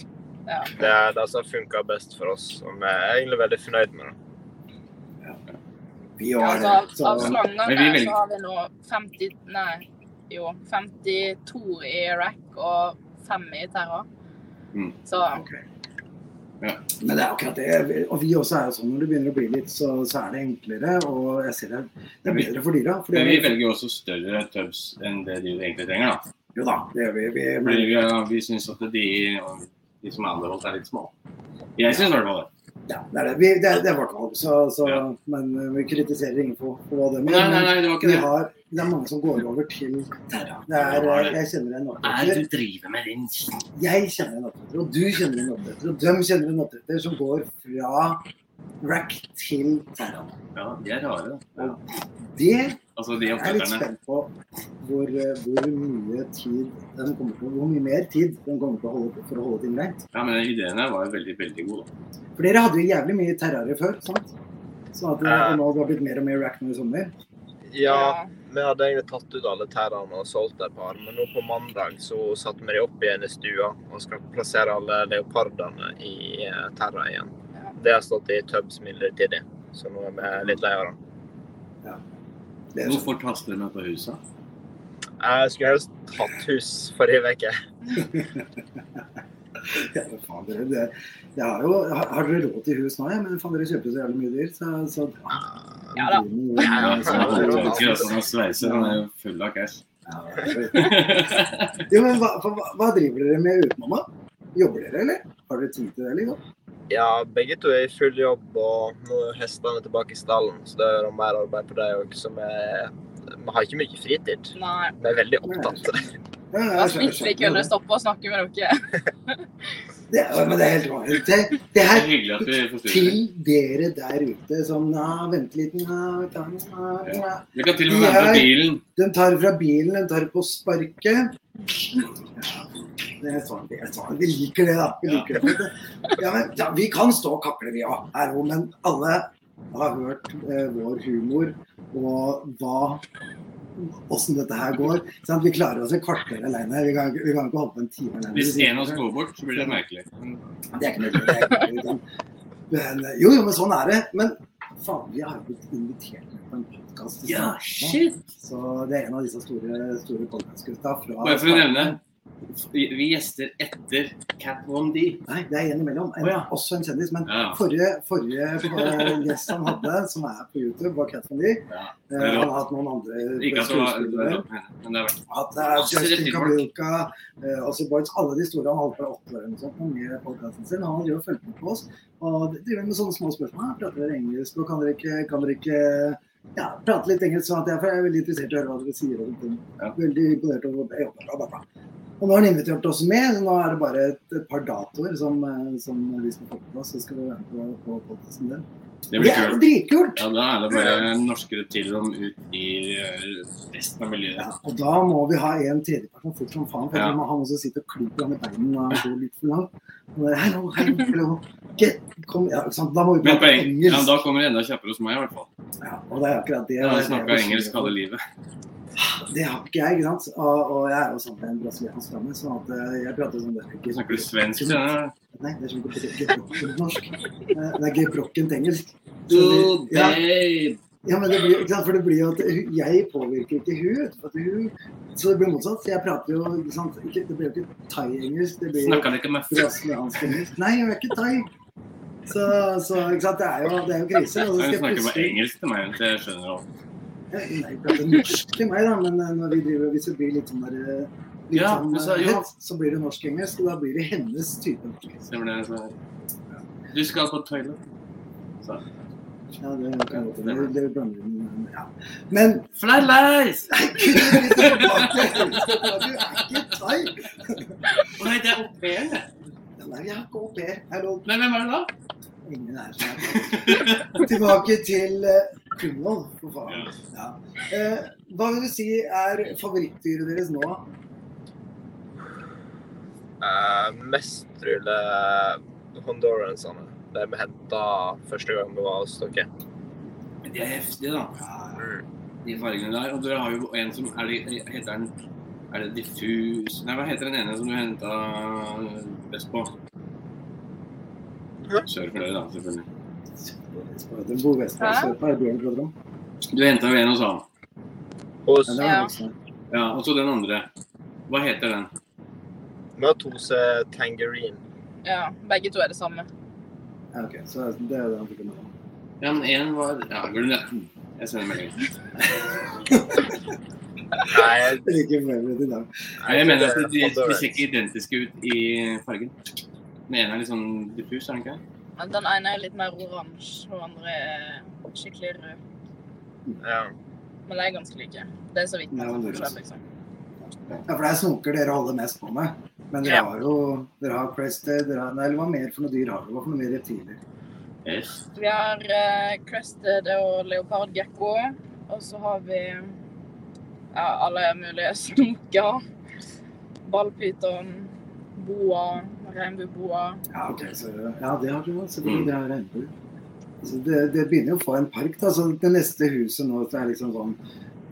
Speaker 3: Ja.
Speaker 4: Det er det som funker best for oss, og vi er egentlig veldig fornøyd med det.
Speaker 2: Vi
Speaker 3: Ja,
Speaker 2: har
Speaker 3: altså,
Speaker 2: det.
Speaker 3: av,
Speaker 2: Så,
Speaker 1: Men
Speaker 3: av
Speaker 1: vi
Speaker 3: slangene
Speaker 1: velger-
Speaker 3: så har vi nå 50 Nei, jo. 52 i rack og 5 i terra.
Speaker 1: Mm.
Speaker 3: Så
Speaker 2: Ok.
Speaker 1: Ja.
Speaker 2: Men det er akkurat det. Og vi også er jo sånn når det begynner å bli litt, så, så er det enklere. Og jeg ser det, det er bedre for dyra.
Speaker 1: Men vi
Speaker 2: Fordi,
Speaker 1: velger jo også større tubs enn det de egentlig trenger, da.
Speaker 2: jo da, det gjør vi. vi men,
Speaker 1: Fordi vi, vi syns at de, de som er anbeholdt, er litt små. Jeg syns i hvert fall det.
Speaker 2: ja, det er det. Vi, det, er- det er vårt valg, så, så,
Speaker 1: Ja.
Speaker 2: men eh, vi kritiserer ingen for for hva de
Speaker 1: Nei, nei, nei, det var
Speaker 2: Vi
Speaker 1: ikke det.
Speaker 2: har, det er mange som går over til Terra. Det er, eh, jeg kjenner en oppdretter.
Speaker 1: driver med den
Speaker 2: Jeg kjenner en oppdretter, og du kjenner en oppdretter, og de kjenner en oppdretter som går fra rack til Terra.
Speaker 1: Ja, de er rare, da.
Speaker 2: Det er
Speaker 1: Altså de
Speaker 2: jeg litt
Speaker 1: oppdretterne.
Speaker 2: spent på hvor, eh, hvor mye tid de kommer til å Hvor mye mer tid de kommer til å holde på for å holde ting rent.
Speaker 1: Ja, men ideen her var jo veldig, veldig god, da.
Speaker 2: For dere hadde jo jævlig mye terrarier før, sant? Sånn at det, og nå har det blitt mer og mer rack nå i sommer.
Speaker 4: Ja, Vi hadde egentlig tatt ut alle tærne og solgt et par, men nå på mandag så satte vi de opp igjen i stua og skal plassere alle leopardene i eh, tærne igjen. Det har stått i tubs midlertidig, så nå er vi litt lei av det.
Speaker 2: Det er sånn.
Speaker 1: Hvorfor taster de meg på huset?
Speaker 4: Jeg skulle helst hatt hus forrige uke.
Speaker 2: Ja, men faen, dere, det, det er jo, har, har dere råd til hus nå? Ja? Men faen, dere kjøper så jævlig mye dyrt. Så, så
Speaker 3: Ja da.
Speaker 1: Ja,
Speaker 4: Ja,
Speaker 1: altså,
Speaker 4: ja,
Speaker 1: han
Speaker 4: ja.
Speaker 1: tolker, altså, han sveiser, han er jo full av cash.
Speaker 2: Ja. Jo, men hva, hva, hva driver dere med utenom, da? Jobber dere, eller? Har dere tid til det, liksom?
Speaker 4: Ja, begge to er i full jobb, og nå er hestene tilbake i stallen, så det er mer arbeid på dem òg, som er Vi har ikke mye fritid.
Speaker 3: Nei.
Speaker 4: Vi er veldig opptatt.
Speaker 2: Ja, ja,
Speaker 3: Det var
Speaker 2: jeg skjønner-
Speaker 3: slik vi liksom.
Speaker 2: skjønner
Speaker 3: kunne
Speaker 2: det.
Speaker 3: stoppe å snakke med dere.
Speaker 2: Det er- Men det er helt vanlig. Det, det
Speaker 1: Det
Speaker 2: her
Speaker 1: er hyggelig at vi forstyrrer.
Speaker 2: til dere der ute som Nei, vent litt nei, ta den, nei, nei.
Speaker 1: Vi kan til og med være på bilen.
Speaker 2: De tar fra bilen, de tar på sparket. Ja, det er sånn, det er sånn. Vi liker det, da. Vi
Speaker 1: Ja.
Speaker 2: liker det. Ja, men, ja, vi kan stå og kakle, vi òg, her òg, men alle har hørt eh, vår humor og hva åssen dette her går. Sant? Vi klarer oss et kvarter alene. Vi kan, vi kan ikke holde på en time alene.
Speaker 1: Hvis en av oss går bort, så blir det merkelig.
Speaker 2: Det er ikke nødvendig. det er ikke nødvendig, sånn. Men, jo, jo, men sånn er det. Men faen, vi har jo blitt invitert med på en podkast. Så det er en av disse store, store podkastgutta fra
Speaker 1: Bare for å nevne, vi gjester etter Cat Von D.
Speaker 2: Nei, det er en imellom. En,
Speaker 1: Å, ja.
Speaker 2: Også en kjendis. Men
Speaker 1: Ja.
Speaker 2: forrige, forrige eh, gjest han hadde, som er på YouTube, var Cat Von D.
Speaker 1: Ja.
Speaker 2: Eh, han har hatt noen andre
Speaker 1: Ikke at det var det var
Speaker 2: skuespillere.
Speaker 1: rått, men det har vært
Speaker 2: At det er
Speaker 1: Masse
Speaker 2: Justin
Speaker 1: rett i folk.
Speaker 2: Kabulka, eh, Ozzy Boyds, alle de store. Han holdt på i åtte år eller noe sånt med podkasten sin. Han driver og følger med på oss og driver med sånne små spørsmål. Her, prater dere engelsk, og kan dere ikke, kan dere ikke ja, prate litt engelsk? Sånn at jeg, for jeg er veldig interessert i å høre hva dere sier. Og ting.
Speaker 1: Ja.
Speaker 2: Veldig imponert over jeg jobber, bla, bla, bla. Og nå har han invitert oss med. så Nå er det bare et, et par datoer som, eh, som vi skal få på plass. Så skal vi være med på, på podkasten din.
Speaker 1: Det
Speaker 2: Det
Speaker 1: blir
Speaker 2: er
Speaker 1: kult.
Speaker 2: jo dritkult!
Speaker 1: Ja, da er det bare norske reptiler om ut i eh, resten av miljøet.
Speaker 2: Ja, og da må vi ha en tredjeperson fort som faen. For
Speaker 1: Ja.
Speaker 2: ja. Han også sitter og klyper han i beina og går litt for langt. Og det er, Hello, hello, hello. Get, kom, ja, ikke sant? Da må vi
Speaker 1: Men på
Speaker 2: prate
Speaker 1: eng ja,
Speaker 2: engelsk.
Speaker 1: da kommer det enda kjappere hos meg, i hvert fall.
Speaker 2: Ja, og det er akkurat det.
Speaker 1: Jeg har
Speaker 2: det er
Speaker 1: snakka
Speaker 2: det jeg
Speaker 1: engelsk
Speaker 2: bekymrer
Speaker 1: halve
Speaker 2: meg
Speaker 1: livet.
Speaker 2: for. Det har ikke jeg, ikke sant. Og, og jeg er jo sammen med en brasiliansk dame, sånn at eh, jeg prater sånn der. Get-
Speaker 1: Snakker du svensk? Ja.
Speaker 2: Nei, det er sånn get- gebrokkent norsk. Eh, Det er gebrokkent engelsk.
Speaker 1: Du,
Speaker 2: ja,
Speaker 1: babe.
Speaker 2: Ja, men det blir, ikke sant? For det blir jo at hu- jeg påvirker ikke hun, vet du, for at hun Så det blir motsatt. Så jeg prater jo ikke sant? Ikke, Det blir jo ikke thai-engelsk. Det blir
Speaker 1: Snakka du ikke med f...
Speaker 2: brasiliansk engelsk. Nei, jeg er ikke thai. Så, så ikke sant? Det, er jo, det er jo krise. Og så
Speaker 1: Hun
Speaker 2: skal jeg
Speaker 1: snakker bare
Speaker 2: plutselig
Speaker 1: engelsk til meg, så jeg skjønner alt.
Speaker 2: Nei, hun prater norsk til meg, da, men eh, når vi driver hvis det blir litt sånn der eh, litt
Speaker 1: Ja,
Speaker 2: sånn,
Speaker 1: men så-
Speaker 2: eh,
Speaker 1: ja.
Speaker 2: hett, så blir det norsk-engelsk, og da blir det hennes type norsk.
Speaker 1: Stemmer det? Så. Du skal på toilet. Så.
Speaker 2: Ja, det, kan godt hende. det, det blander vi med- ja. Men
Speaker 1: Flylies!
Speaker 2: Du er ikke thai!
Speaker 1: Å nei, det er au pairen, det.
Speaker 2: Nei, jeg har ikke au pair. Hallo.
Speaker 1: Men hvem er det da?
Speaker 2: Ingen er som er Tilbake til eh, Kungholm, for faen. Ja. Eh, hva vil du si er favorittdyret deres nå?
Speaker 4: Eh, mest ruller honduransene. De vi henta første gang vi var hos dere.
Speaker 1: Men De er heftige, da.
Speaker 4: Mm.
Speaker 1: De fargene der. Og dere har jo en som er det, Heter den Er det diffus Nei, hva heter den ene som du henta best på?
Speaker 4: Ja.
Speaker 1: Sør for dere, da, selvfølgelig.
Speaker 2: Den bor vest på
Speaker 3: Hæ?
Speaker 2: Sørpa, er det Bjørn Brodrom?
Speaker 1: Du henta jo en hos han.
Speaker 2: Ja,
Speaker 4: Hos
Speaker 2: det
Speaker 3: Ja.
Speaker 2: er også.
Speaker 1: Ja, og så den andre. Hva heter den?
Speaker 4: Vi har to som er tangerine.
Speaker 3: Ja, begge to er det samme.
Speaker 2: Ja, ok, så det er det han fikk med om.
Speaker 1: Ja, men en var Ja, glem det. Jeg sender melding.
Speaker 4: Nei, jeg,
Speaker 2: Det er ikke favorit i dag.
Speaker 1: Nei, jeg mener at de, de
Speaker 4: Honduran.
Speaker 1: ser ikke identiske ut i fargen. Den ene er litt sånn diffus, er den ikke?
Speaker 3: Men Den ene er litt mer oransje, og den andre er skikkelig rød.
Speaker 4: Ja.
Speaker 3: Men de er ganske like. Det er så vidt.
Speaker 2: Ja,
Speaker 3: man
Speaker 2: det
Speaker 3: får
Speaker 2: er
Speaker 3: forskjell, liksom.
Speaker 2: Ja, for det er snoker dere holder mest på med. Men dere
Speaker 3: Ja.
Speaker 2: har jo dere har Crested, dere har, nei, eller hva mer for noe dyr har dere? Hva for noe mer reptiler?
Speaker 1: Yes.
Speaker 3: Vi har eh, crested og leopardgekko. Og så har vi ja, alle mulige snoker. Ballpyton, boa, regnbueboa.
Speaker 2: Ja, ok, så, ja det har du jo.
Speaker 1: Mm.
Speaker 2: Selvfølgelig. Det har regnbue. Så det, det begynner jo å få en park. da, så Det neste huset nå så er liksom sånn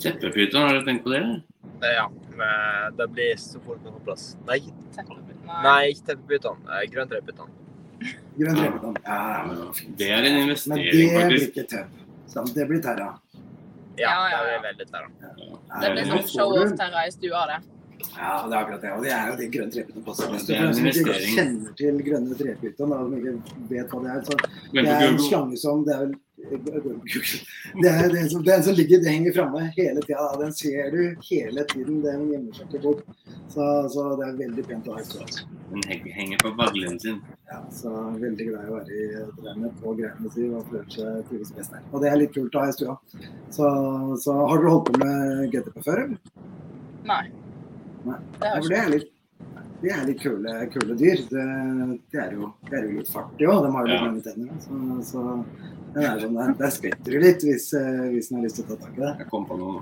Speaker 1: Teppepyton, har du tenkt på det? eller?
Speaker 4: Nei, ja. Men det blir så fort vi får plass. Nei,
Speaker 3: teppepyton.
Speaker 4: nei ikke teppepytene. Eh, Grøntrepytene.
Speaker 2: grønn drømmedam. Ja,
Speaker 1: Ja, men Det er en
Speaker 2: Men
Speaker 1: investering,
Speaker 2: det blir
Speaker 1: faktisk.
Speaker 2: ikke tøv. Sant? Det blir terra.
Speaker 4: Ja,
Speaker 3: Ja, ja,
Speaker 4: det
Speaker 3: ja.
Speaker 4: er veldig der, da.
Speaker 3: Det blir
Speaker 1: det
Speaker 3: sånn
Speaker 1: får
Speaker 3: show-off-terra i stua, det.
Speaker 2: Ja, det er akkurat det. Og det er jo det grønne trepytta passer
Speaker 1: Ja,
Speaker 2: best.
Speaker 1: det
Speaker 2: For
Speaker 1: er en
Speaker 2: de som ikke
Speaker 1: investering.
Speaker 2: kjenner til grønne trepytta, men som ikke vet hva det er, så
Speaker 1: Men
Speaker 2: det er
Speaker 1: på
Speaker 2: en
Speaker 1: Google-
Speaker 2: slange som det er vel det er den som, den som ligger, det henger framme hele tida. da. Den ser du hele tiden. Den gjemmer seg ikke bort. Så, så det er veldig pent å ha i stål.
Speaker 1: Den heng- henger på baglen sin.
Speaker 2: Ja, så jeg er veldig glad i å være i drømmet og greiene sine og føler seg trives best der. Og det er litt kult å ha i stua. Så, så har dere holdt på med GTP før, eller?
Speaker 3: Nei.
Speaker 2: Nei.
Speaker 3: Det
Speaker 2: Ja,
Speaker 3: har
Speaker 2: for
Speaker 3: ikke
Speaker 2: det er litt, det er litt kule, kule dyr. Det, det, er jo, det er jo litt fartig òg. De har jo litt
Speaker 1: Ja.
Speaker 2: lange tenner. Så, så den er sånn der, der skvetter du litt hvis, eh, hvis den har lyst til å ta tak i deg.
Speaker 1: Jeg kom på noe nå.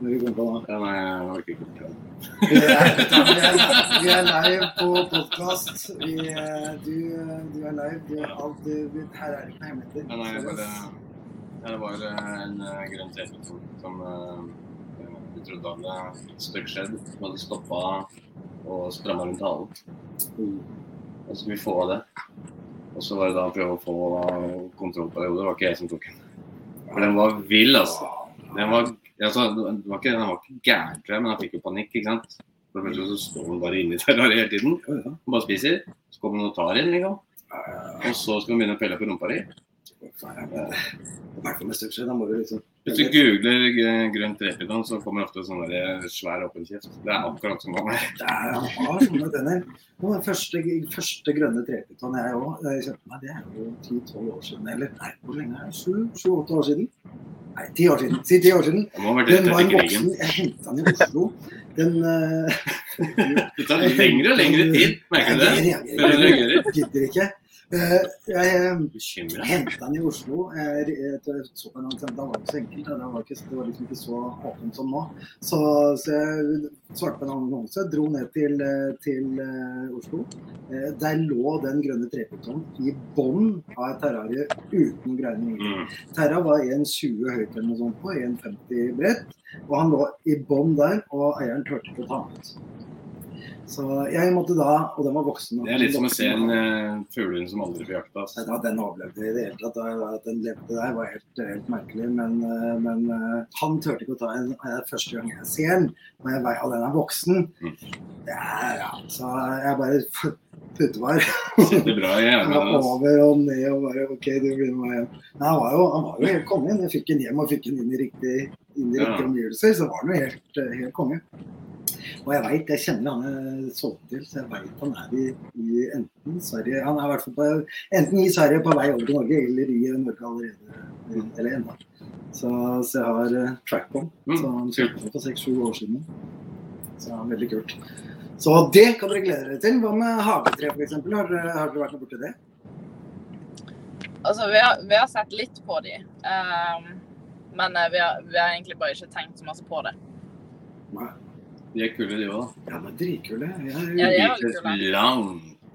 Speaker 2: Når vi kommer på nå.
Speaker 1: Ja, nei, jeg orker ikke fortelle.
Speaker 2: Vi er, vi er, vi er live på podkast. Du, du er live. Du er alt, du, du- her er det ikke noe hemmeligheter.
Speaker 1: Ja, nei, jeg bare, ja, det var eh, en eh, grønn TV-ton som eh, eh, vi trodde hadde støkkskjedd, som hadde stoppa og stramma rundt halen. Og så skulle vi få av det. Og så var det da å prøve å få kontroll på det. og Det var ikke jeg som tok den. For den var vill, altså. Den var, altså, den var ikke, den var ikke gæren, tror jeg, men han fikk jo panikk, ikke sant. For det første så står den bare inni terrariet hele tiden.
Speaker 2: Jo, ja.
Speaker 1: Han bare spiser. Så kommer noen og tar den, liksom.
Speaker 2: Eh,
Speaker 1: Og så skal han begynne å pelle på rumpa di.
Speaker 2: faen, jeg vet det. I hvert fall med støvsugere, da må du liksom
Speaker 1: Hvis du googler gr- grønn trepyton, så kommer det ofte sånn der svær åpen kjeft. Det er akkurat som gammel.
Speaker 2: Det er, han har sånne tenner. Og den første, første grønne trepyton jeg òg kjøpte meg, det er jo 10-12 år siden. Eller nei, hvor lenge er det? 7-8 år siden? Nei, 10 år siden. Si 10 år siden.
Speaker 1: Det må ha vært rett
Speaker 2: Den var
Speaker 1: etter
Speaker 2: en voksen.
Speaker 1: krigen.
Speaker 2: Jeg henta den i Oslo. Den eh,
Speaker 1: Det tar lengre og lengre tid, merker du det?
Speaker 2: Jeg
Speaker 1: Før du
Speaker 2: reagerer
Speaker 1: reagerer.
Speaker 2: ikke. Gidder ikke. Eh, jeg eh,
Speaker 1: Bekymra.
Speaker 2: henta den i Oslo. Jeg re- jeg så på den, og tenkte, Da var det ikke så enkelt. da. Det var, ikke, det var liksom ikke så åpent som nå. Så, så jeg svarte på en annonse, dro ned til, eh, til eh, Oslo. Eh, der lå den grønne trepytonen i bånn av et terrarie uten noe greier.
Speaker 1: Mm.
Speaker 2: Terra var 1,20 høyt eller noe sånt på, 1,50 bredt. Og han lå i bånn der, og eieren turte ikke å ta den ut. Så jeg måtte da, og den var voksen
Speaker 1: Det er litt som å se
Speaker 2: voksen,
Speaker 1: en
Speaker 2: da.
Speaker 1: eh, fuglehund som aldri blir jakta.
Speaker 2: Nei,
Speaker 1: ass.
Speaker 2: da, den overlevde i det hele tatt. Da, at den levde der var helt, helt merkelig. Men, eh, men eh, han turte ikke å ta en eh, første gang jeg ser den. Og jeg vei- og den er voksen.
Speaker 1: Mm.
Speaker 2: Det er, ja, så jeg bare f- putevar.
Speaker 1: Sitter bra i
Speaker 2: Han var
Speaker 1: armene. ass.
Speaker 2: over og ned og bare OK, du blir med meg hjem. Men han var jo, han var jo helt konge. Jeg fikk den hjem og fikk den inn i riktig, inn i
Speaker 1: Ja.
Speaker 2: riktige omgivelser, så var den jo helt, eh, helt konge. Og jeg veit, jeg kjenner han jeg solgte til, så jeg veit han er i, i enten Sverige Han er i hvert fall på, enten i Sverige på vei over til Norge, eller i Norge allerede. Eller ennå. Så, så jeg har eh, track på han.
Speaker 1: Mm,
Speaker 2: Så han
Speaker 1: kult.
Speaker 2: kjøpte den for seks-sju år siden. Så det er veldig kult. Så det kan dere glede dere til. Hva med hagetre, f.eks.? Har, dere- har dere vært noe borti det?
Speaker 3: Altså, vi har, vi har sett litt på de. ehm, men eh, vi har, vi har egentlig bare ikke tenkt så masse på det.
Speaker 2: Nei.
Speaker 1: De er kule, de òg.
Speaker 2: Ja, men dritkule. Ja,
Speaker 3: Ja,
Speaker 1: De
Speaker 3: de er veldig
Speaker 1: kles
Speaker 3: kule.
Speaker 1: langt.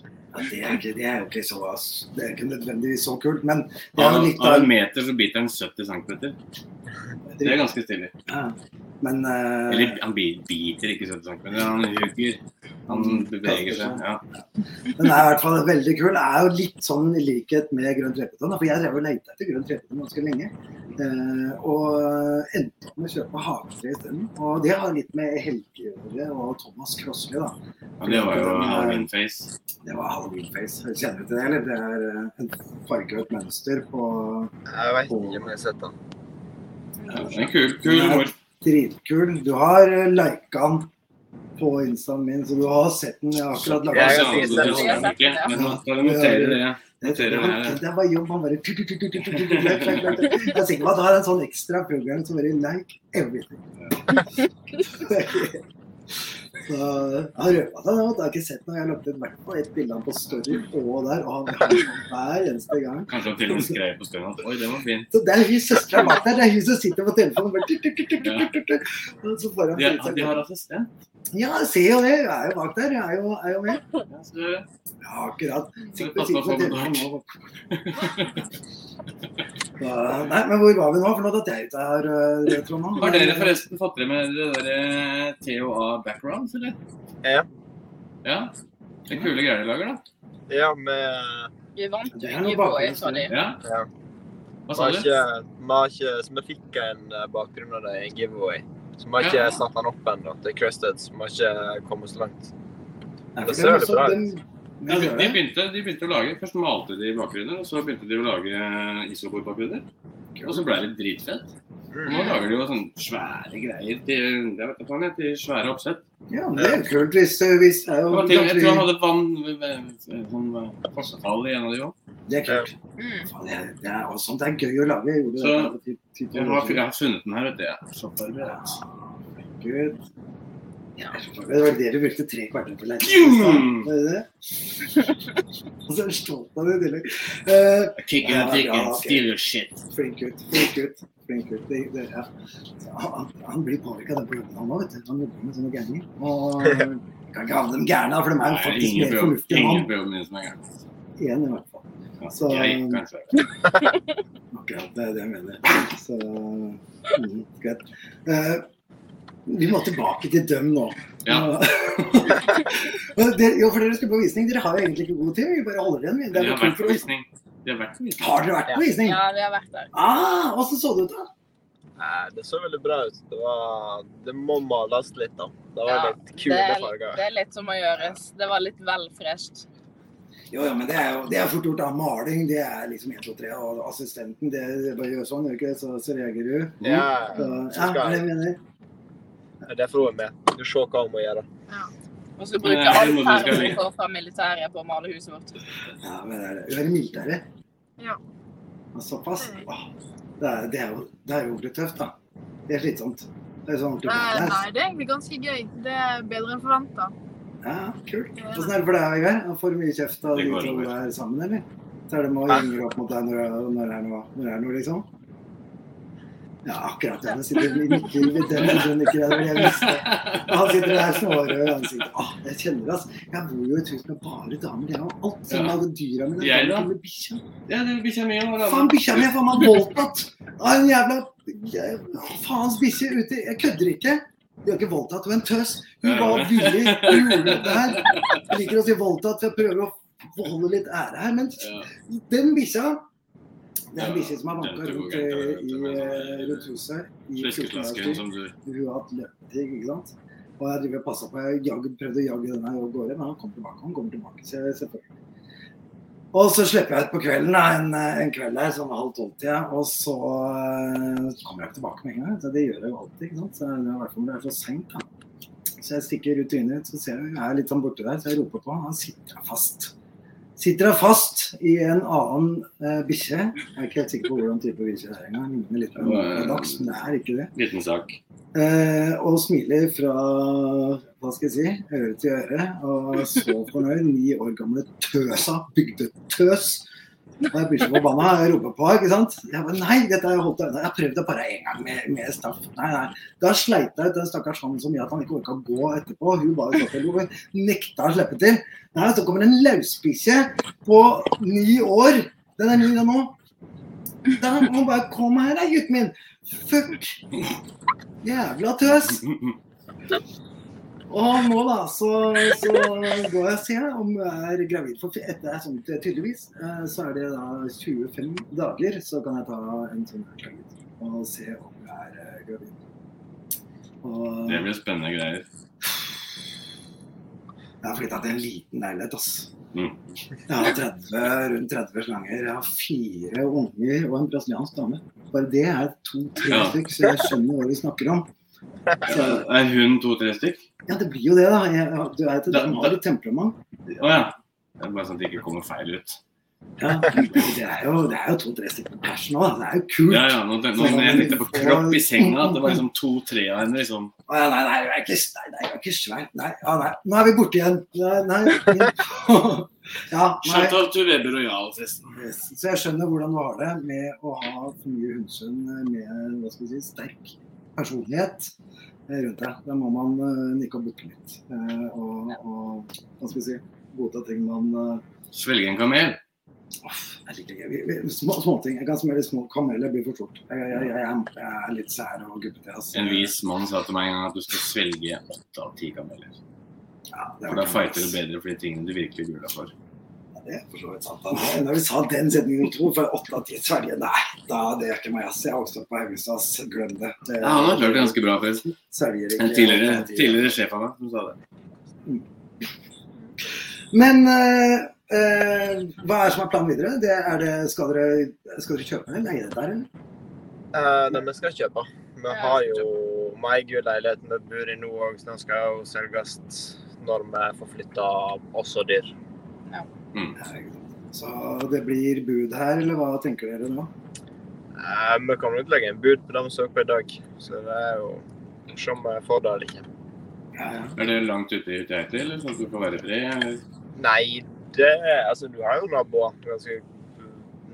Speaker 2: Ja, det, er ikke, det er jo ikke så ass. Det er ikke nødvendigvis så kult, men det er
Speaker 1: Av
Speaker 2: jo litt
Speaker 1: av
Speaker 2: av
Speaker 1: en meter så biter han 70 cm. Det er ganske stilig.
Speaker 2: ja. Men eh,
Speaker 1: Eller han bi- biter ikke 70 cm, han hugger. Han beveger seg. Ja.
Speaker 2: den er i hvert fall veldig kul. Det er jo litt sånn i likhet med grønn trepyton. da, For jeg drev og lette etter grønn trepyton ganske lenge. Eh, og endte opp med å kjøpe hagetre isteden. Og det har litt med Helge å gjøre, og Thomas Krossli, da.
Speaker 1: Og det var jo Halloween-face.
Speaker 2: Det var halloweenface. Kjenner du til det, eller? Det er eh, en fargerødt mønster på
Speaker 4: Jeg vet ikke om jeg har sett den.
Speaker 1: Ja, det er kul, kul humor.
Speaker 2: dritkul. Du har eh, liket den på instaen min, så du har sett den. Jeg har akkurat
Speaker 1: Ja,
Speaker 2: laget
Speaker 1: så det
Speaker 4: Jeg kan si det.
Speaker 1: husker jeg ikke, men nå skal jeg notere det.
Speaker 2: Det
Speaker 1: noterer det her, ja.
Speaker 2: det var jobb, han bare tut, tut, tut, tut, tut, tut, tut, tut, tut. Jeg er sikker på at han har en sånn ekstra program som bare like everything. Så han røpa seg, nå, at jeg har ikke sett noe. Jeg har lagt ut hvert fall ett bilde av han på story og der, og han har hver eneste gang.
Speaker 1: Kanskje han til og med skrev på stønad. Oi, det var fint.
Speaker 2: Så det er hun søstera bak der, det er hun som sitter på telefonen og bare tut, tut, tut, tut, tut, tut, tut. Og så får han
Speaker 1: De, har-
Speaker 2: seg-
Speaker 1: de har assistent.
Speaker 2: Ja, jeg ser jo det. Hun er jo bak der. Hun er jo, er jo med.
Speaker 1: Ja, så det-
Speaker 2: Ja, akkurat.
Speaker 1: Så
Speaker 2: Sitter,
Speaker 1: pass på å
Speaker 2: sitter
Speaker 1: få
Speaker 2: med
Speaker 1: betalt.
Speaker 2: telefonen og Ja, Nei, men hvor var vi nå? For nå datt jeg ut her, eh, Trond. nå.
Speaker 1: Har dere forresten fått dere med det der eh, TOA backgrounds, eller?
Speaker 4: Ja.
Speaker 1: Ja? Det er kule greier de lager, da.
Speaker 4: Ja, med
Speaker 3: Vi vant
Speaker 2: Det
Speaker 3: jo
Speaker 2: er
Speaker 3: ikke
Speaker 2: noe
Speaker 3: på
Speaker 2: bakgrunns-
Speaker 3: et av de.
Speaker 1: Ja.
Speaker 4: Ja.
Speaker 1: Hva
Speaker 4: Vi
Speaker 1: sa
Speaker 4: har
Speaker 1: du?
Speaker 4: ikke, vi har ikke, så vi fikk en eh, bakgrunn av det i en giveaway. Så vi har
Speaker 1: Ja.
Speaker 4: ikke satt den opp ennå til Crested, så vi har ikke kommet så langt.
Speaker 2: Nei, for
Speaker 4: Det ser
Speaker 2: er
Speaker 4: det
Speaker 2: også-
Speaker 4: bra ut.
Speaker 2: den-
Speaker 1: Ja,
Speaker 2: den
Speaker 1: de,
Speaker 2: gjør
Speaker 1: de,
Speaker 2: det.
Speaker 1: begynte, de begynte å lage Først malte de bakgrunner, og så begynte de å lage isoborpapirer. Og så ble det dritfett. Og nå lager de jo sånne svære greier til, jeg vet ikke, faen, jeg, til svære oppsett.
Speaker 2: Ja, men det er jo kult hvis, eh, hvis det er
Speaker 1: Det
Speaker 2: jo
Speaker 1: var til, jeg tror jeg
Speaker 2: ganske-
Speaker 1: hadde vann sånn eh, fossefall i en av de òg.
Speaker 2: Det er kult.
Speaker 3: Mm.
Speaker 2: Faen, det, er- det er også sånt det er gøy å lage. Jeg gjorde
Speaker 1: Så-
Speaker 2: det for ti- ti- ti
Speaker 1: Jeg har, jeg
Speaker 2: år
Speaker 1: har funnet den her, vet du. Jeg er så forberedt.
Speaker 2: siden. Gud.
Speaker 3: Ja.
Speaker 2: Det var det du brukte tre kvarter på å lære.
Speaker 1: Mm.
Speaker 2: Var det det? Og så er du stolt av det i tillegg. Eh,
Speaker 1: Kicking
Speaker 2: Ja,
Speaker 1: and
Speaker 2: ja,
Speaker 1: kicking,
Speaker 2: ok.
Speaker 1: steal your shit.
Speaker 2: flink gutt, flink gutt. flink gutt. Det, det, ja. Så han, han blir påvirka av det på jobben han òg, vet du. Han jobber med sånne gærninger. Og kan ikke ha dem gærne, for de er jo
Speaker 1: Nei,
Speaker 2: faktisk
Speaker 1: Ingen
Speaker 2: mer fornuftige enn han.
Speaker 1: bøker min som er gæren.
Speaker 2: Én i hvert fall.
Speaker 1: Ja,
Speaker 2: Så-
Speaker 1: Jeg, kanskje.
Speaker 2: Akkurat det er det jeg mener. Så mm, greit. Eh, vi må tilbake til døm nå.
Speaker 1: Ja.
Speaker 2: Men dere, jo, for dere skulle på visning. Dere har jo egentlig ikke god tid. Vi bare holder igjen. vi. Det
Speaker 1: De
Speaker 2: er
Speaker 1: har
Speaker 2: litt
Speaker 1: vært
Speaker 2: kult
Speaker 1: på
Speaker 2: for oss.
Speaker 1: visning. De har vært på visning.
Speaker 2: Har dere vært på visning?
Speaker 3: Ja, vi har vært der.
Speaker 2: Ah, Åssen så det ut, da?
Speaker 4: Nei, det så veldig bra ut. Det, var, det må males litt, da. Det var
Speaker 3: Ja,
Speaker 4: litt
Speaker 3: det,
Speaker 4: kule
Speaker 3: er,
Speaker 4: farger.
Speaker 3: det er litt som å gjøres. Det var litt vel fresht.
Speaker 2: Jo, ja, men det er jo det er fort gjort. da. Maling det er liksom 1, 2, 3. Og assistenten det er bare gjør sånn, gjør ikke det, så, så reagerer du.
Speaker 4: Ja,
Speaker 2: Så, ja,
Speaker 4: Mm,
Speaker 2: det
Speaker 4: så
Speaker 2: er det
Speaker 4: skal
Speaker 2: jeg mener.
Speaker 4: jeg. Derfor er hun med. Du ser hva hun må gjøre.
Speaker 3: Og så
Speaker 1: Nei,
Speaker 3: bruke
Speaker 1: det
Speaker 3: alt
Speaker 1: må du
Speaker 3: her
Speaker 1: skal
Speaker 3: vi
Speaker 1: gjøre.
Speaker 3: får fra militæret på å male huset vårt.
Speaker 2: Ja, men det er det. Være mildere.
Speaker 3: Ja.
Speaker 2: Ja, Såpass? Åh, Det er, det, er jo, det er jo ordentlig tøft, da. Det er slitsomt. Det er sånn ordentlig badass.
Speaker 3: det er egentlig ganske gøy. Det er bedre enn forventa.
Speaker 2: Ja, kult. Åssen er det for deg, Vegard? Får du mye kjeft av
Speaker 1: Det
Speaker 2: de
Speaker 1: går
Speaker 2: to
Speaker 1: over.
Speaker 2: der sammen, eller? Så er det med å henge opp mot deg når, når, det er noe, når det er noe, liksom? Ja, akkurat. Ja. Den sitter i nikker, den sitter og nikker. Jeg, jeg visste. Og Han sitter der snårød i ansiktet. Åh, jeg kjenner det, altså. Jeg bor jo i et hus med bare damer. Det er jo alt som
Speaker 1: Ja.
Speaker 2: hadde dyra mine.
Speaker 1: Jeg, da?
Speaker 2: Med bikkja.
Speaker 1: Ja, det er bikkja mi og
Speaker 2: Faen, bikkja mi er faen meg voldtatt av en jævla jeg- Faens bikkje ute Jeg kødder ikke. Du er ikke voldtatt, du er en tøs. Hun var villig. Hun gjorde dette her. Jeg liker å si voldtatt, for jeg prøver å beholde litt ære her. Men
Speaker 1: Ja.
Speaker 2: den bikkja det er en
Speaker 1: Ja,
Speaker 2: bikkje som har vanka
Speaker 1: den tror
Speaker 2: rundt,
Speaker 1: jeg
Speaker 2: eh,
Speaker 1: altså. ikke jeg
Speaker 2: i,
Speaker 1: vet om jeg
Speaker 2: eh,
Speaker 1: sånn-
Speaker 2: rundt huset. i 14 dager.
Speaker 1: Fleskeslasken som du
Speaker 2: Hun har hatt løpeting, ikke sant. Og jeg driver og passer på. Jeg jagde- prøvde å jage den her av gårde, men han kom tilbake. Han kommer tilbake, så jeg selvfølgelig. Og så slipper jeg ut på kvelden, da, en, en kveld her, sånn halv tolv-tida. Og så eh, kommer jeg ikke tilbake med en gang. Så det gjør jeg jo alltid. ikke sant? Så jeg, I hvert fall når det er så seint. da. Så jeg stikker ut og inn ut, så ser jeg, jeg er litt sånn borte der, så jeg roper på han. Han sitter der fast. Sitter der fast i en annen eh, bikkje. Jeg er ikke helt sikker på hvordan type bikkje det er engang. Ligner litt på en dachs, men det er ikke det.
Speaker 1: Liten sak.
Speaker 2: Eh, og smiler fra hva skal jeg si, øre til øre. Og så fornøyd. Ni år gamle tøsa. Bygdetøs. Og jeg blir så forbanna. Jeg roper på henne, ikke sant. Jeg bare, nei, dette har jeg holdt unna. Jeg har prøvd det bare én gang med, med straff. Nei, nei. Da sleit jeg ut den stakkars han som gjorde at han ikke orka å gå etterpå. Hun bare satt og lo. Nekta å slippe til. Nei, så kommer det en løsbikkje på ni år. Den er ny, den nå. Da må hun bare komme her, da, gutten min. Fuck. Jævla tøs. Og nå da, så, så går jeg og ser om jeg er gravid. For etter jeg er sånn tydeligvis, eh, så er det da 25 dager, så kan jeg ta en sånn her gravid og se om jeg er eh, gravid. Og
Speaker 1: Det blir spennende greier.
Speaker 2: jeg har flytta til en liten leilighet, ass.
Speaker 1: Mm.
Speaker 2: Jeg har 30, rundt 30 slanger. Jeg har fire unger og en brasiliansk dame. Bare det er to-tre
Speaker 1: Ja.
Speaker 2: stykk, så jeg skjønner hva de snakker om. Så,
Speaker 1: Er hun to-tre stykk?
Speaker 2: ja, det blir jo det, da. Jeg, du vet,
Speaker 1: Da-
Speaker 2: de
Speaker 1: da-
Speaker 2: har et temperament.
Speaker 1: Å ja. Det er bare sånn at det ikke kommer feil ut.
Speaker 2: Ja, det er jo, det er jo to-tre stykker på pers nå, da. det er jo kult.
Speaker 1: Ja, ja, nå, ten- nå, når jeg tenkte på kropp i senga, at det var liksom to-tre av henne. liksom.
Speaker 2: Å, ja, nei, nei, jeg er ikke, nei, nei, jeg er ikke svær. Nei, ja, nei, nå er vi borte igjen. Nei, nei. Ja, nei.
Speaker 1: Shout out to Weber og Jarl, forresten.
Speaker 2: Så jeg skjønner hvordan du har det med å ha for mye hundsund med hva skal vi si, sterk personlighet eh, rundt deg. Da må man eh, nikke og bukke litt. eh, Og, og hva skal vi si, godta ting man eh,
Speaker 1: Svelge en kamel.
Speaker 2: Åh, jeg liker ikke- vi- vi- Små, små ting. Jeg kan smøre små kameler, blir for stort. Jeg, jeg, jeg, jeg, jeg er litt sær og gubbete. altså.
Speaker 1: En vis mann sa til meg en gang at du skal svelge åtte av ti kameler.
Speaker 2: Ja, det er
Speaker 1: For da
Speaker 2: ok.
Speaker 1: fighter du bedre for de tingene du virkelig gruer deg for.
Speaker 2: Det er for så vidt sant. da. Det- Når du sa den setningen om to, for åtte av ti svelger Nei, da, det er ikke meg, ass. Jeg har vokst opp på Haugestad, ass. glem det. det
Speaker 1: Ja, han har klart det ganske bra, forresten.
Speaker 2: svelger ikke.
Speaker 1: En tidligere, tidligere sjef av meg som sa det.
Speaker 2: Men eh, eh, hva er det som er planen videre? Det er det, skal, dere, skal dere kjøpe den? Eie dette, her, eller?
Speaker 4: Eh, nei, vi skal kjøpe. Vi
Speaker 3: Ja,
Speaker 4: har jo vi eier jo leiligheten vi bor i nå òg, så den skal jo selges når vi får flytta også dyr.
Speaker 2: Herregud. Så det blir bud her, eller hva tenker dere nå?
Speaker 4: Eh, vi kommer nok til å legge en bud på det vi søker på i dag, så det er jo å se om vi får det eller ikke.
Speaker 2: Ja, ja.
Speaker 1: Er det langt ute i Uteite, eller sånn at du får være i fred? eller?
Speaker 4: Nei, det Altså, du har jo naboer ganske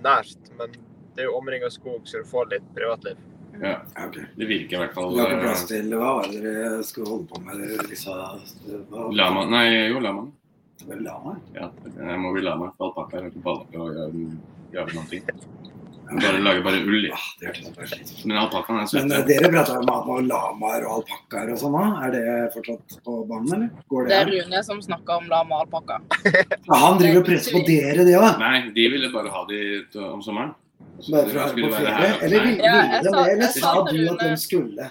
Speaker 4: nært, men det er jo omringa skog, så du får litt privatliv.
Speaker 2: Ja, ok.
Speaker 1: Det virker i hvert fall
Speaker 2: Du har ikke plass
Speaker 1: eh,
Speaker 2: til Hva var det dere skulle holde på med? Dere disse hva-
Speaker 1: Lama. Nei, jo, lamaen.
Speaker 2: Det var Lama?
Speaker 1: Ja, jeg må bli lama. for Alpakkaer har ikke ballakke og gjør gjør noen ting. De bare lager bare ull i.
Speaker 2: Ah, det hørtes ut som det var slitt.
Speaker 1: Men alpakkaen er
Speaker 2: Men eh,
Speaker 1: søte.
Speaker 2: dere prater om at lamaer og alpakkaer og sånn òg. Er det fortsatt på banen, eller? Går
Speaker 3: Det
Speaker 2: det?
Speaker 3: er Rune som snakker om lama og alpakka.
Speaker 2: Ja, han driver og presser på dere, det òg.
Speaker 1: Nei, de ville bare ha de t- om sommeren. Så
Speaker 2: Bare for å
Speaker 1: da
Speaker 2: være
Speaker 1: skulle
Speaker 2: på
Speaker 1: det være
Speaker 2: ferie?
Speaker 1: her, da.
Speaker 2: Eller
Speaker 1: Nei,
Speaker 2: ville
Speaker 3: Ja, jeg
Speaker 2: dere det?
Speaker 3: sa-
Speaker 2: Eller
Speaker 3: jeg
Speaker 2: sa
Speaker 3: sa
Speaker 2: du
Speaker 3: til
Speaker 2: at de
Speaker 3: Rune-
Speaker 2: skulle?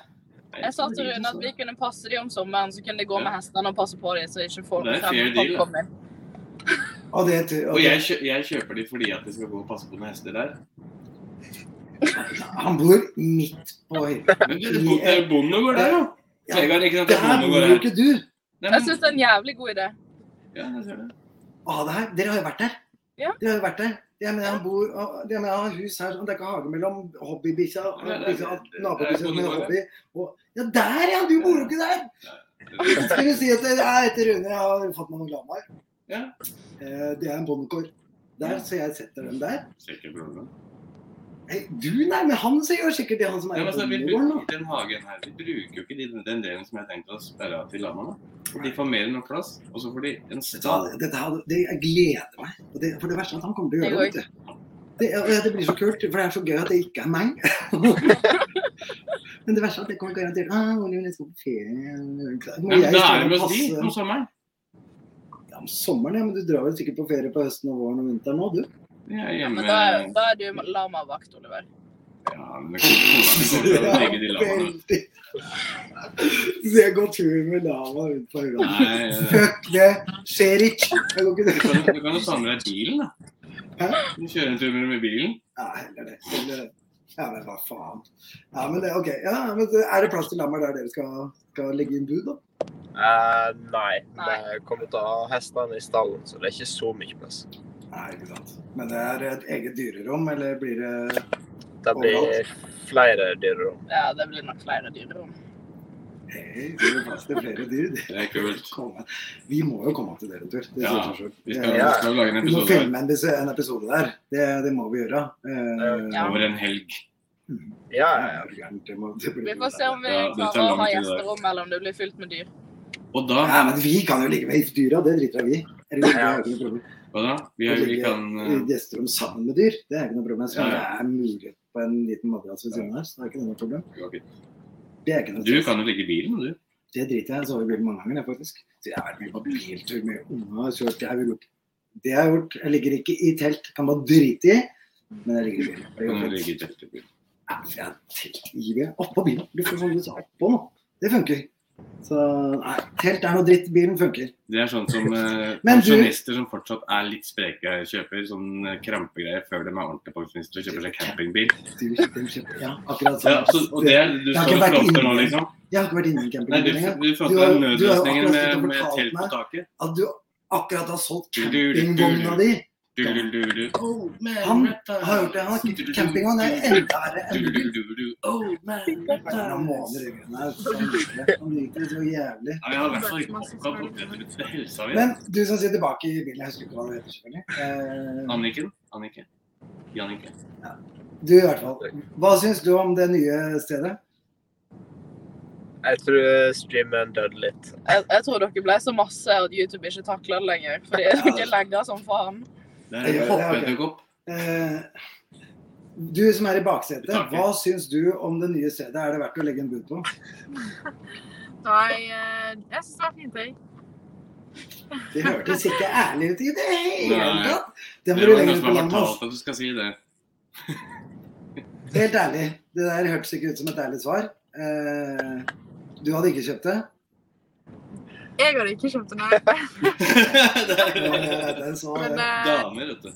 Speaker 3: Jeg sa til Rune at vi kunne passe de om sommeren, så kunne de gå med hestene og passe på de, så ikke folk
Speaker 1: Det er fair
Speaker 3: fremme
Speaker 1: deal,
Speaker 3: folk
Speaker 1: da.
Speaker 3: kommer inn.
Speaker 2: Og det, og
Speaker 1: Og
Speaker 2: det,
Speaker 1: jeg, kjø jeg kjøper de fordi at de skal gå og passe på noen hester der.
Speaker 2: han bor midt på høyre.
Speaker 1: Men det er bo- det er bondegård der, jo!
Speaker 2: Ja,
Speaker 1: Vegard, ikke sant? Det
Speaker 2: Det
Speaker 1: er
Speaker 2: her bor
Speaker 1: bondegård
Speaker 2: jo
Speaker 1: her.
Speaker 2: ikke du.
Speaker 1: Nei,
Speaker 3: Jeg
Speaker 1: men-
Speaker 3: syns det er en jævlig god idé.
Speaker 1: Ja, jeg ser det.
Speaker 2: Ah, det her. Dere har jo vært der.
Speaker 3: Ja.
Speaker 2: Dere har jo vært der. Jeg mener, han bor, og- jeg mener, han har hus her, og det er ikke hage mellom hobbybikkja og
Speaker 1: Nei, det er-
Speaker 2: bikkja-
Speaker 1: det er
Speaker 2: nabobikkja med
Speaker 1: bondegård, ja.
Speaker 2: hobby. Og, ja, der ja! Du bor jo ikke der! Jeg skulle si at jeg heter Rune, jeg har fått meg noen lamaer.
Speaker 1: Ja.
Speaker 2: Eh, Det er en bondekår. Der, så jeg setter den der.
Speaker 1: Sikkert bondegård.
Speaker 2: Nei, du, nei, men han så gjør sikkert det, han som
Speaker 1: Ja,
Speaker 2: er
Speaker 1: men
Speaker 2: i
Speaker 1: altså, vi
Speaker 2: bondegården.
Speaker 1: bruker den hagen her. Vi bruker jo ikke de- den delen som jeg har tenkt å sperre av til lamaene. For de får mer enn nok plass, og så får de en
Speaker 2: Vet du hva,
Speaker 1: stall.
Speaker 2: Dette her, det, jeg gleder meg. Og det, for det verste er at han kommer til å gjøre det. vet du. Det, ja, det blir så kult, for det er så gøy at det ikke er meg. Men det verste er at det kommer garantert ah, Ole, jeg skal på ferie. Må
Speaker 1: Nei, men
Speaker 2: jeg
Speaker 1: da
Speaker 2: stå
Speaker 1: er det
Speaker 2: og
Speaker 1: med oss de
Speaker 2: passe-
Speaker 1: om sommeren.
Speaker 2: Ja, om sommeren, ja, men du drar vel sikkert på ferie på høsten og våren og vinteren òg, du?
Speaker 1: De er hjemme
Speaker 3: Men da, da er du lamavakt, Oliver.
Speaker 1: Ja, men det kommer til å legge de lamaene ut.
Speaker 2: veldig. Så jeg går tur med lama rundt på øya.
Speaker 1: Nei, eh,
Speaker 2: Fuck det! Skjer ikke! Jeg går ikke
Speaker 1: du kan- du kan jo ta med deg bilen, da.
Speaker 2: Hæ?
Speaker 1: Du kjører en tur med med bilen.
Speaker 2: Ja, heller det. Heller det. Ja, men hva faen. Ja, men det, ok. Ja, men det- er det plass til lammer der dere skal, skal legge inn bud, da?
Speaker 4: Eh, nei,
Speaker 3: Nei.
Speaker 4: vi kommer til å ha hestene i stallen, så det er ikke så mye plass.
Speaker 2: Nei, ikke sant. Men det er et eget dyrerom, eller blir det
Speaker 4: Det blir flere dyrerom.
Speaker 3: Ja, det blir nok flere dyrerom.
Speaker 2: Hei, det blir plass til flere dyr? Det
Speaker 1: Det er kult.
Speaker 2: Komme. Vi må jo komme opp til dere en tur. Det sier
Speaker 1: Ja,
Speaker 2: seg selv.
Speaker 1: Vi skal,
Speaker 2: Det-
Speaker 1: vi skal lage en
Speaker 2: Vi må
Speaker 1: episode her
Speaker 2: filme en, bis- en episode der. Det, det må vi gjøre. Eh,
Speaker 3: Ja.
Speaker 1: over en helg.
Speaker 4: Ja, ja, ja.
Speaker 2: det er gærent, det må- det blir
Speaker 3: Vi
Speaker 2: jo
Speaker 3: får se
Speaker 2: der.
Speaker 3: om vi
Speaker 1: Ja, det tar
Speaker 3: klarer
Speaker 1: lang
Speaker 3: å ha
Speaker 1: tid, det der.
Speaker 3: gjesterom, eller om det blir fylt med dyr.
Speaker 1: Og da,
Speaker 2: Ja, men vi kan jo ligge med dyra, det driter jeg vi. Eller, det er jo ikke noe problem.
Speaker 1: hva da? Vi, er- vi kan
Speaker 2: i
Speaker 1: eh,
Speaker 2: gjesterom sammen med dyr. Det er ikke noe problem. Så
Speaker 1: Ja,
Speaker 2: det
Speaker 1: ja.
Speaker 2: er mulighet på en liten madrass ved siden her, så det er ikke noe problem.
Speaker 1: ok.
Speaker 2: Det er ikke noe
Speaker 1: Du
Speaker 2: stress.
Speaker 1: kan jo ligge i bilen, du.
Speaker 2: Det driter jeg i. Jeg sover i bilen mange ganger, jeg, faktisk. Så jeg har vært mye på biltur med unga og kjørt. Jeg har gjort det jeg har gjort. Jeg ligger ikke i telt, kan bare drite i, men jeg ligger i bilen. Det
Speaker 1: Du
Speaker 2: er jo
Speaker 1: kan ligge
Speaker 2: fint.
Speaker 1: i telt i bilen.
Speaker 2: Ja, for Jeg har telt i det. Oppå bilen. Du får sånn litt oppå nå. Det funker. Så nei, telt er noe dritt. Bilen funker.
Speaker 1: Det er sånn som eh,
Speaker 2: Men du-
Speaker 1: pensjonister som fortsatt er litt spreke, kjøper sånn eh, krampegreier før de er ordentlige pensjonister og kjøper seg campingbil.
Speaker 2: Du, den kjøper, ja, akkurat sånn.
Speaker 1: Ja, så, og det er du
Speaker 2: Jeg har
Speaker 1: står
Speaker 2: ikke
Speaker 1: og
Speaker 2: vært
Speaker 1: fronter nå,
Speaker 2: inne.
Speaker 1: liksom?
Speaker 2: Jeg har ikke vært inne i en
Speaker 1: Nei, du,
Speaker 2: campingbil engang.
Speaker 1: du fronter
Speaker 2: Du har-
Speaker 1: den
Speaker 2: du har jo
Speaker 1: nødløsningen
Speaker 2: akkurat
Speaker 1: med,
Speaker 2: sittet og
Speaker 1: med
Speaker 2: fortalt
Speaker 1: telt på
Speaker 2: meg.
Speaker 1: taket.
Speaker 2: at du akkurat har solgt
Speaker 1: Du, du, du, du,
Speaker 2: campingvogna di.
Speaker 1: Du, du, du, du. Oh, man,
Speaker 2: Han
Speaker 1: Metta.
Speaker 2: Har gjort det. Han har
Speaker 1: Du, du,
Speaker 2: ikke
Speaker 1: du,
Speaker 2: campingvogn. Det
Speaker 1: du,
Speaker 2: er enda verre.
Speaker 1: du,
Speaker 2: enn-
Speaker 1: du, du, du, du. Oh, man,
Speaker 2: Det er noen
Speaker 1: Metta.
Speaker 2: måneder i grunnen her, så Han liker det. Han liker det så jævlig.
Speaker 1: Ja, jeg har i hvert fall ikke oppgav opplever ut med helsa mi.
Speaker 2: Men du som sitter bak i bilen, jeg husker ikke hva du heter selvfølgelig. Eh,
Speaker 1: Anniken? Annike? Jannike?
Speaker 2: Du i hvert fall. Hva syns du om det nye stedet?
Speaker 4: Jeg tror streamen døde litt.
Speaker 3: Jeg, jeg tror dere ble så masse at YouTube ikke takler det lenger. Fordi dere legger som faen.
Speaker 1: Der er det hoppedderkopp.
Speaker 2: Eh, Du som er i baksetet, hva syns du om det nye stedet? Er det verdt å legge en bud på?
Speaker 3: eh, Nei, jeg syns det var fint, jeg.
Speaker 2: Det hørtes ikke ærlig ut i det hele
Speaker 1: Nei.
Speaker 2: tatt.
Speaker 1: Det
Speaker 2: Den må
Speaker 1: var
Speaker 2: du
Speaker 1: noen
Speaker 2: legge
Speaker 1: som
Speaker 2: på
Speaker 1: har
Speaker 2: landet. ass.
Speaker 1: fortalt at du skal si det.
Speaker 2: Helt ærlig. Det der hørtes ikke ut som et ærlig svar. Eh, du hadde ikke kjøpt det?
Speaker 3: Jeg hadde ikke kjøpt den her.
Speaker 1: Det
Speaker 2: Ja,
Speaker 1: er-
Speaker 2: jeg vet det, så,
Speaker 3: Men
Speaker 2: eh,
Speaker 3: eh,
Speaker 1: Damer, vet du.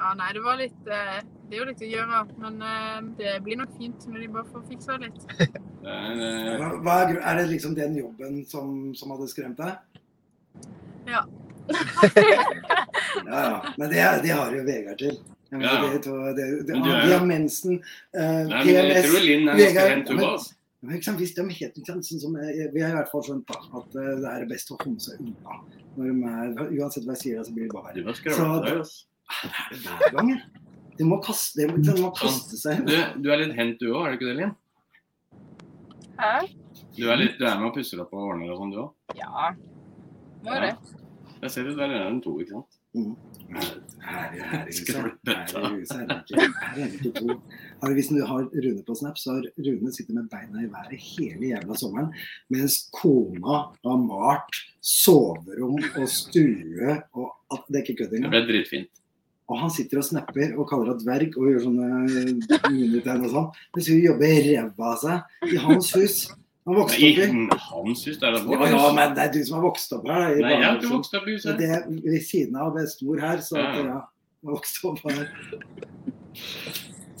Speaker 3: ja, nei, det var litt eh, Det er jo litt å gjøre, men eh, det blir nok fint når de bare får fiksa det litt.
Speaker 1: Det er, eh,
Speaker 2: hva- hva er, gru- er det liksom den jobben som, som hadde skremt deg?
Speaker 3: Ja.
Speaker 2: ja, ja. Men det, er- det har jo Vegard til. Jeg mener,
Speaker 1: Ja, ja.
Speaker 2: det, tror jeg- det, det,
Speaker 1: Men du er-
Speaker 2: de har mensen, eh,
Speaker 1: Nei, men jeg
Speaker 2: PMS.
Speaker 1: tror Linn er ganske
Speaker 2: Vegard,
Speaker 1: ren
Speaker 2: men-
Speaker 1: tuba. altså. ass.
Speaker 2: Men ikke sant, hvis de helt ikke sant, sånn som jeg, Vi har i hvert fall skjønt da, at eh, det er best å komme seg unna. Når de er, uansett hva jeg sier, så blir det bare verre.
Speaker 1: Du var skravlete der, ass.
Speaker 2: Hva er det hver gang? jeg? De må kaste, de, må- de må kaste seg.
Speaker 1: Du, du er litt hent du òg, er du ikke det, Linn?
Speaker 3: Hæ?
Speaker 1: Du er, litt, du er med og pusser opp og ordner og sånn, du òg?
Speaker 3: Ja. Må jo det.
Speaker 1: Jeg ser det, der er en to, ikke sant?
Speaker 2: Her, her, i huset-
Speaker 1: Skravlete, da.
Speaker 2: her i huset er det ikke, her er det ikke to. Har du- Hvis du har Rune på Snap, så har Rune sittet med beina i været hele jævla sommeren, mens kona har malt soverom og stue og at, Det er ikke kødd
Speaker 1: Det
Speaker 2: engang.
Speaker 1: ble dritfint.
Speaker 2: Og han sitter og snapper og kaller henne dverg og gjør sånne minitegn og sånn. Mens hun jobber ræva av seg i hans hus. Han
Speaker 1: Nei,
Speaker 2: vokste opp i.
Speaker 1: i hans hus, det er det
Speaker 2: Ja, ja, men det er du som har vokst opp her. da, i
Speaker 1: Nei, jeg har ikke
Speaker 2: barndommen.
Speaker 1: vokst opp i
Speaker 2: Så
Speaker 1: huset.
Speaker 2: det er ved siden av bestemor her, så at,
Speaker 1: Ja.
Speaker 2: ja, jeg har vokst opp her.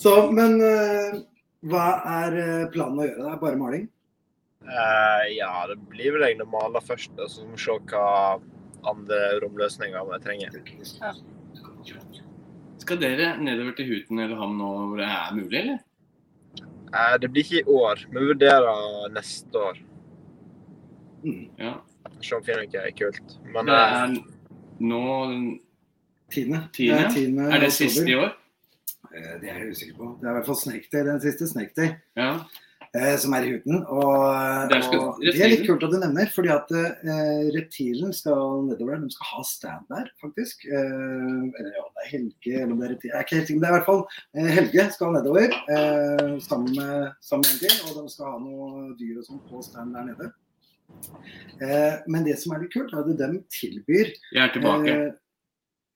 Speaker 2: Så, men eh, hva er eh, planen å gjøre? Det er bare maling?
Speaker 4: Eh, ja, det blir vel egentlig å male først, og så må vi se hva andre romløsninger vi trenger.
Speaker 1: Skal dere nedover til Huten eller Ham nå hvor det er mulig, eller?
Speaker 4: Eh, det blir ikke i år, men vi vurderer neste år.
Speaker 2: Mm.
Speaker 1: Ja.
Speaker 4: Se om vi finner noe kult. Men
Speaker 1: Det
Speaker 4: eh,
Speaker 1: er nå
Speaker 2: Tiende.
Speaker 1: Tiende?
Speaker 2: Det er, tiende
Speaker 1: Er det
Speaker 2: oktober.
Speaker 1: siste i år?
Speaker 2: Eh, Det er jeg usikker på. Det er i hvert fall Snake Day, den siste Snake Day.
Speaker 1: Ja.
Speaker 2: eh, som er i huden. Og,
Speaker 1: Der skal-
Speaker 2: og det er litt kult at du nevner, fordi at eh, reptilen skal nedover der. De skal ha stand der, faktisk. Eh, eller ja, det er Helge, eller om det er reptil. Jeg er ikke helt sikker, men det er i hvert fall eh, Helge skal nedover eh, sammen med sammen med en til, og de skal ha noe dyr og sånn på stand der nede. Eh, men det som er litt kult, er at de tilbyr
Speaker 1: Jeg er tilbake.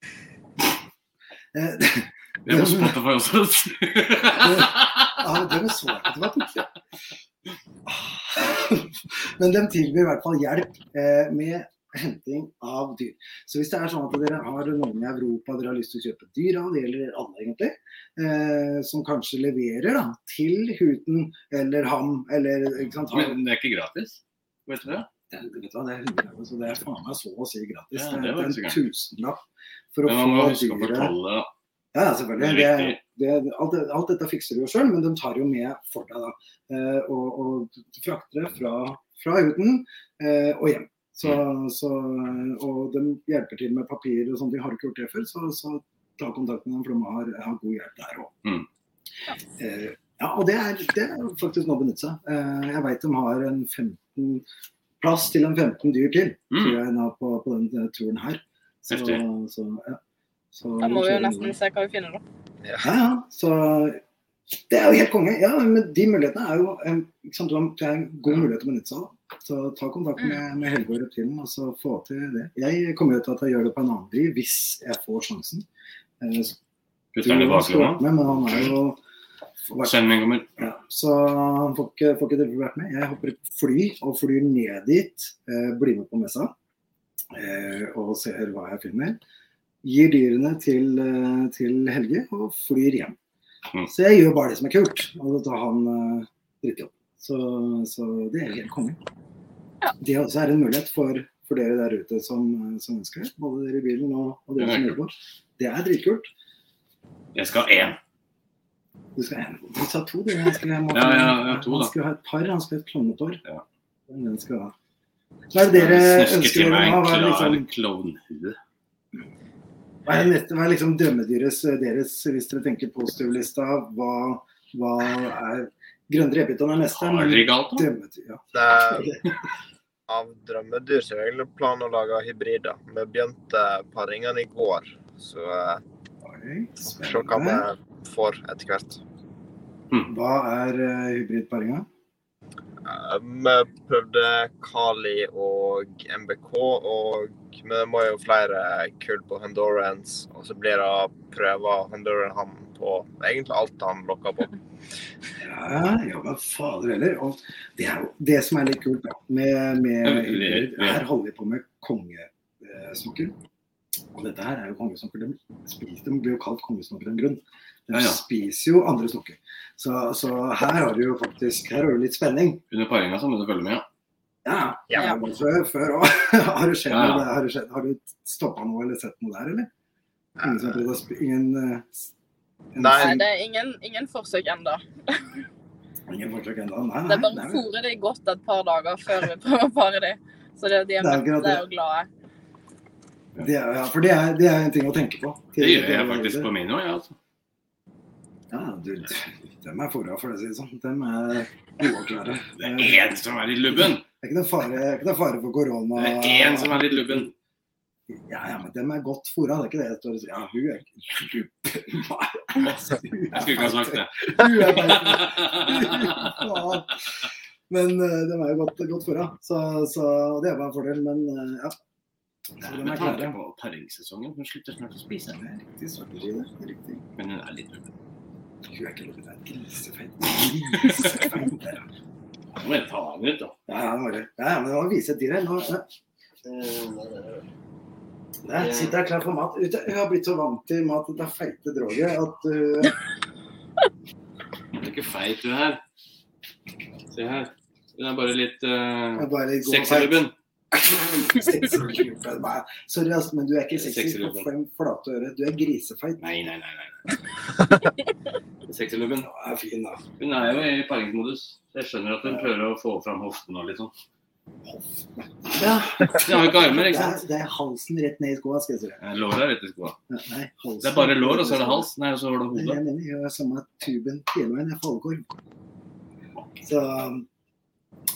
Speaker 2: eh, eh,
Speaker 1: Det er på Spotify også.
Speaker 2: Ja, men det var så jeg ikke det var tungt. Men de tilbyr i hvert fall hjelp eh, med henting av dyr. Så hvis det er sånn at dere har noen i Europa dere har lyst til å kjøpe dyr av, det gjelder alle egentlig, eh, som kanskje leverer da, til Huten eller Ham eller ikke sant, har,
Speaker 1: Men det er ikke gratis. Vet du det?
Speaker 2: det, vet du hva, det er 100 euro, så det er faen meg så å si gratis.
Speaker 1: Ja, det
Speaker 2: det,
Speaker 1: var
Speaker 2: er
Speaker 1: ikke så
Speaker 2: en
Speaker 1: gærent.
Speaker 2: tusenlapp for å
Speaker 1: Men man må
Speaker 2: få
Speaker 1: huske å
Speaker 2: dyret
Speaker 1: fortelle
Speaker 2: ja,
Speaker 1: Det
Speaker 2: selvfølgelig.
Speaker 1: er
Speaker 2: Det,
Speaker 1: riktig.
Speaker 2: det, alt, det- alt dette fikser du jo sjøl, men de tar jo med for deg, da. Eh, og, og frakter det fra, fra huden eh, og hjem. Så,
Speaker 1: Mm.
Speaker 2: så, og de hjelper til med papir og sånne ting. Har du ikke gjort det før, så, så ta kontakt med dem, for de har, har god hjelp der òg.
Speaker 1: Mm.
Speaker 2: Eh, ja, og det er, det er faktisk noe å benytte seg av. Eh, jeg veit de har en 15 plass til en 15 dyr til, tror
Speaker 1: Mm.
Speaker 2: jeg, da, på, på den eh, turen her. Så,
Speaker 1: Heftig.
Speaker 2: så, ja. så
Speaker 3: Da må vi jo
Speaker 2: kjører
Speaker 3: nesten se hva vi finner, da.
Speaker 2: ja, ja. Så det er jo helt konge. Ja, men de mulighetene er jo eh, ikke sant, det er en god mulighet å benytte seg av. da. Så ta kontakt med, med Helge og Reptilen og så få til det. Jeg kommer jo til at jeg gjør det på en annen vri hvis jeg får sjansen. Eh,
Speaker 1: Putter den i
Speaker 2: skulle vært
Speaker 1: baklomma.
Speaker 2: med, men han er jo
Speaker 1: Sending kommer.
Speaker 2: ja, så han får ikke, får ikke det vært med. Jeg hopper i et fly og flyr ned dit. Eh, blir med på messa eh, og ser hva jeg finner. Gir dyrene til, eh, til Helge og flyr hjem.
Speaker 1: Mm.
Speaker 2: Så jeg gjør bare det som er kult, og da tar han eh, drittjobb. Så, så det er helt konge.
Speaker 3: Ja.
Speaker 2: Det også er en mulighet for, for dere der ute som, som ønsker det. Både dere i bilen og, og
Speaker 1: Det
Speaker 2: dere
Speaker 1: er
Speaker 2: som jobber. Det er dritkult.
Speaker 1: Jeg skal ha én.
Speaker 2: Du skal en, du sa to, du. Han skulle, må,
Speaker 1: Ja, ja, ja, to, da.
Speaker 2: han skulle ha et par, han skulle ha et klovnet år.
Speaker 1: Ja.
Speaker 2: Den skal ha. Hva er det dere
Speaker 1: Snuske
Speaker 2: ønsker
Speaker 1: til
Speaker 2: dere
Speaker 1: meg
Speaker 2: nå?
Speaker 1: en
Speaker 2: Hva er,
Speaker 1: klar
Speaker 2: liksom,
Speaker 1: klovnhue.
Speaker 2: hva er, nett- hva er liksom drømmedyret deres, hvis dere tenker positivlista? Hva, hva er Grønne repeton er neste,
Speaker 1: Har dere ikke alt, da?
Speaker 2: drømmedyr ja.
Speaker 4: det er av drømmedyr så er det egentlig planen å lage hybrider. Vi begynte paringene i går, så eh,
Speaker 2: Oi,
Speaker 4: vi får se hva vi
Speaker 2: Spennende.
Speaker 4: får etter hvert.
Speaker 2: Hva er eh, hybridparinga?
Speaker 4: Eh, Eh, Vi prøvde Kali og MBK, og vi må jo flere kull på Hondurans. Og så blir det prøver Honduran han på egentlig alt han lokker på.
Speaker 2: Ja, ja, men fader heller. Og det, er jo, det som er litt kult da, med, med
Speaker 1: Det- det-
Speaker 2: Her holder vi på med kongesnokkel. Og dette her er jo kongesnokkel. De spiser, de blir jo kalt kongesnokkel av en grunn. De
Speaker 1: Ja, ja.
Speaker 2: spiser jo andre snokker. Så, så her har du jo faktisk her har du litt spenning.
Speaker 1: Under paringa så må du følge med, ja.
Speaker 2: Ja.
Speaker 4: Ja.
Speaker 2: det var Før, før òg. Har det skjedd
Speaker 1: Ja, ja.
Speaker 2: noe der? Har, det skjedd, har du stoppa noe eller sett noe der, eller? Ingen som har prøvd å sp- Ingen, eh, s- en-
Speaker 4: Nei.
Speaker 3: Nei, det er ingen, ingen forsøk ennå.
Speaker 2: ingen forsøk ennå? Nei,
Speaker 3: Det
Speaker 2: nei.
Speaker 3: er
Speaker 2: nei,
Speaker 3: bare å
Speaker 2: nei.
Speaker 3: fôre de godt et par dager før vi prøver å pare de. Så det, de er,
Speaker 2: Det er
Speaker 3: mette
Speaker 2: akkurat det.
Speaker 3: og glade.
Speaker 2: Det er, ja, for det er, det er en ting å tenke på.
Speaker 1: Det gjør jeg faktisk på min òg, jeg. Altså.
Speaker 2: Ja, du, dem er fora, for å si det sånn. Dem er gode og klare.
Speaker 1: Det er én som er litt lubben!
Speaker 2: Det er ikke noe fare, ikke noe fare for korona.
Speaker 1: Det er én som er litt lubben!
Speaker 2: Ja, ja, men dem er godt fora, det er ikke det jeg står og sier. Ja, hun er ikke Nei, altså, hun
Speaker 1: Jeg
Speaker 2: er
Speaker 1: skulle ikke ha sagt det.
Speaker 2: feit. Hun er feit. Faen. Men uh, dem er jo godt, godt fora, så, så og det er bare en fordel. Men eh, ja. Så dem er
Speaker 1: Med tanke
Speaker 2: klare.
Speaker 1: på paringssesongen, hun slutter snart å spise.
Speaker 2: Det er riktig, svarte ski, det. Det er riktig.
Speaker 1: Men hun er litt lubben.
Speaker 2: Hun er ikke lov til å være grisefeit. Grisefeit, det er
Speaker 1: Nå må jeg ta henne ut, da.
Speaker 2: Ja, ja, det var det. Ja, ja, men det var å vise et dyr her. Nå, ja. Der sitter jeg klar for mat. Ute. Jeg har blitt så vant til mat at det er feite droger at uh,
Speaker 1: Du er ikke feit, du her. Se her. Hun er bare litt uh,
Speaker 2: jeg bare går
Speaker 1: sexy lubben.
Speaker 2: Sexylubben. Nei, Sorry, ass, men du er ikke sexy.
Speaker 1: Sexylubben.
Speaker 2: for fem flate øre. Du er grisefeit.
Speaker 1: Nei, nei, nei. nei. Sexy lubben.
Speaker 2: Ja, er fin, da.
Speaker 1: Hun er jo i paringsmodus. Jeg skjønner at hun prøver å få fram hoften og litt sånn.
Speaker 2: Ja,
Speaker 1: Hun har jo ikke armer,
Speaker 2: det
Speaker 1: ikke
Speaker 2: er,
Speaker 1: sant?
Speaker 2: det er halsen rett ned i skoa, skal jeg si deg.
Speaker 1: Eh, Låret er rett i skoa.
Speaker 2: Nei, halsen.
Speaker 1: Det er bare lår, og så er det hals. Nei, og så har du
Speaker 2: Nei,
Speaker 1: hodet.
Speaker 2: Jeg mener, jeg har samme tuben hele veien. Jeg er falukorv. Så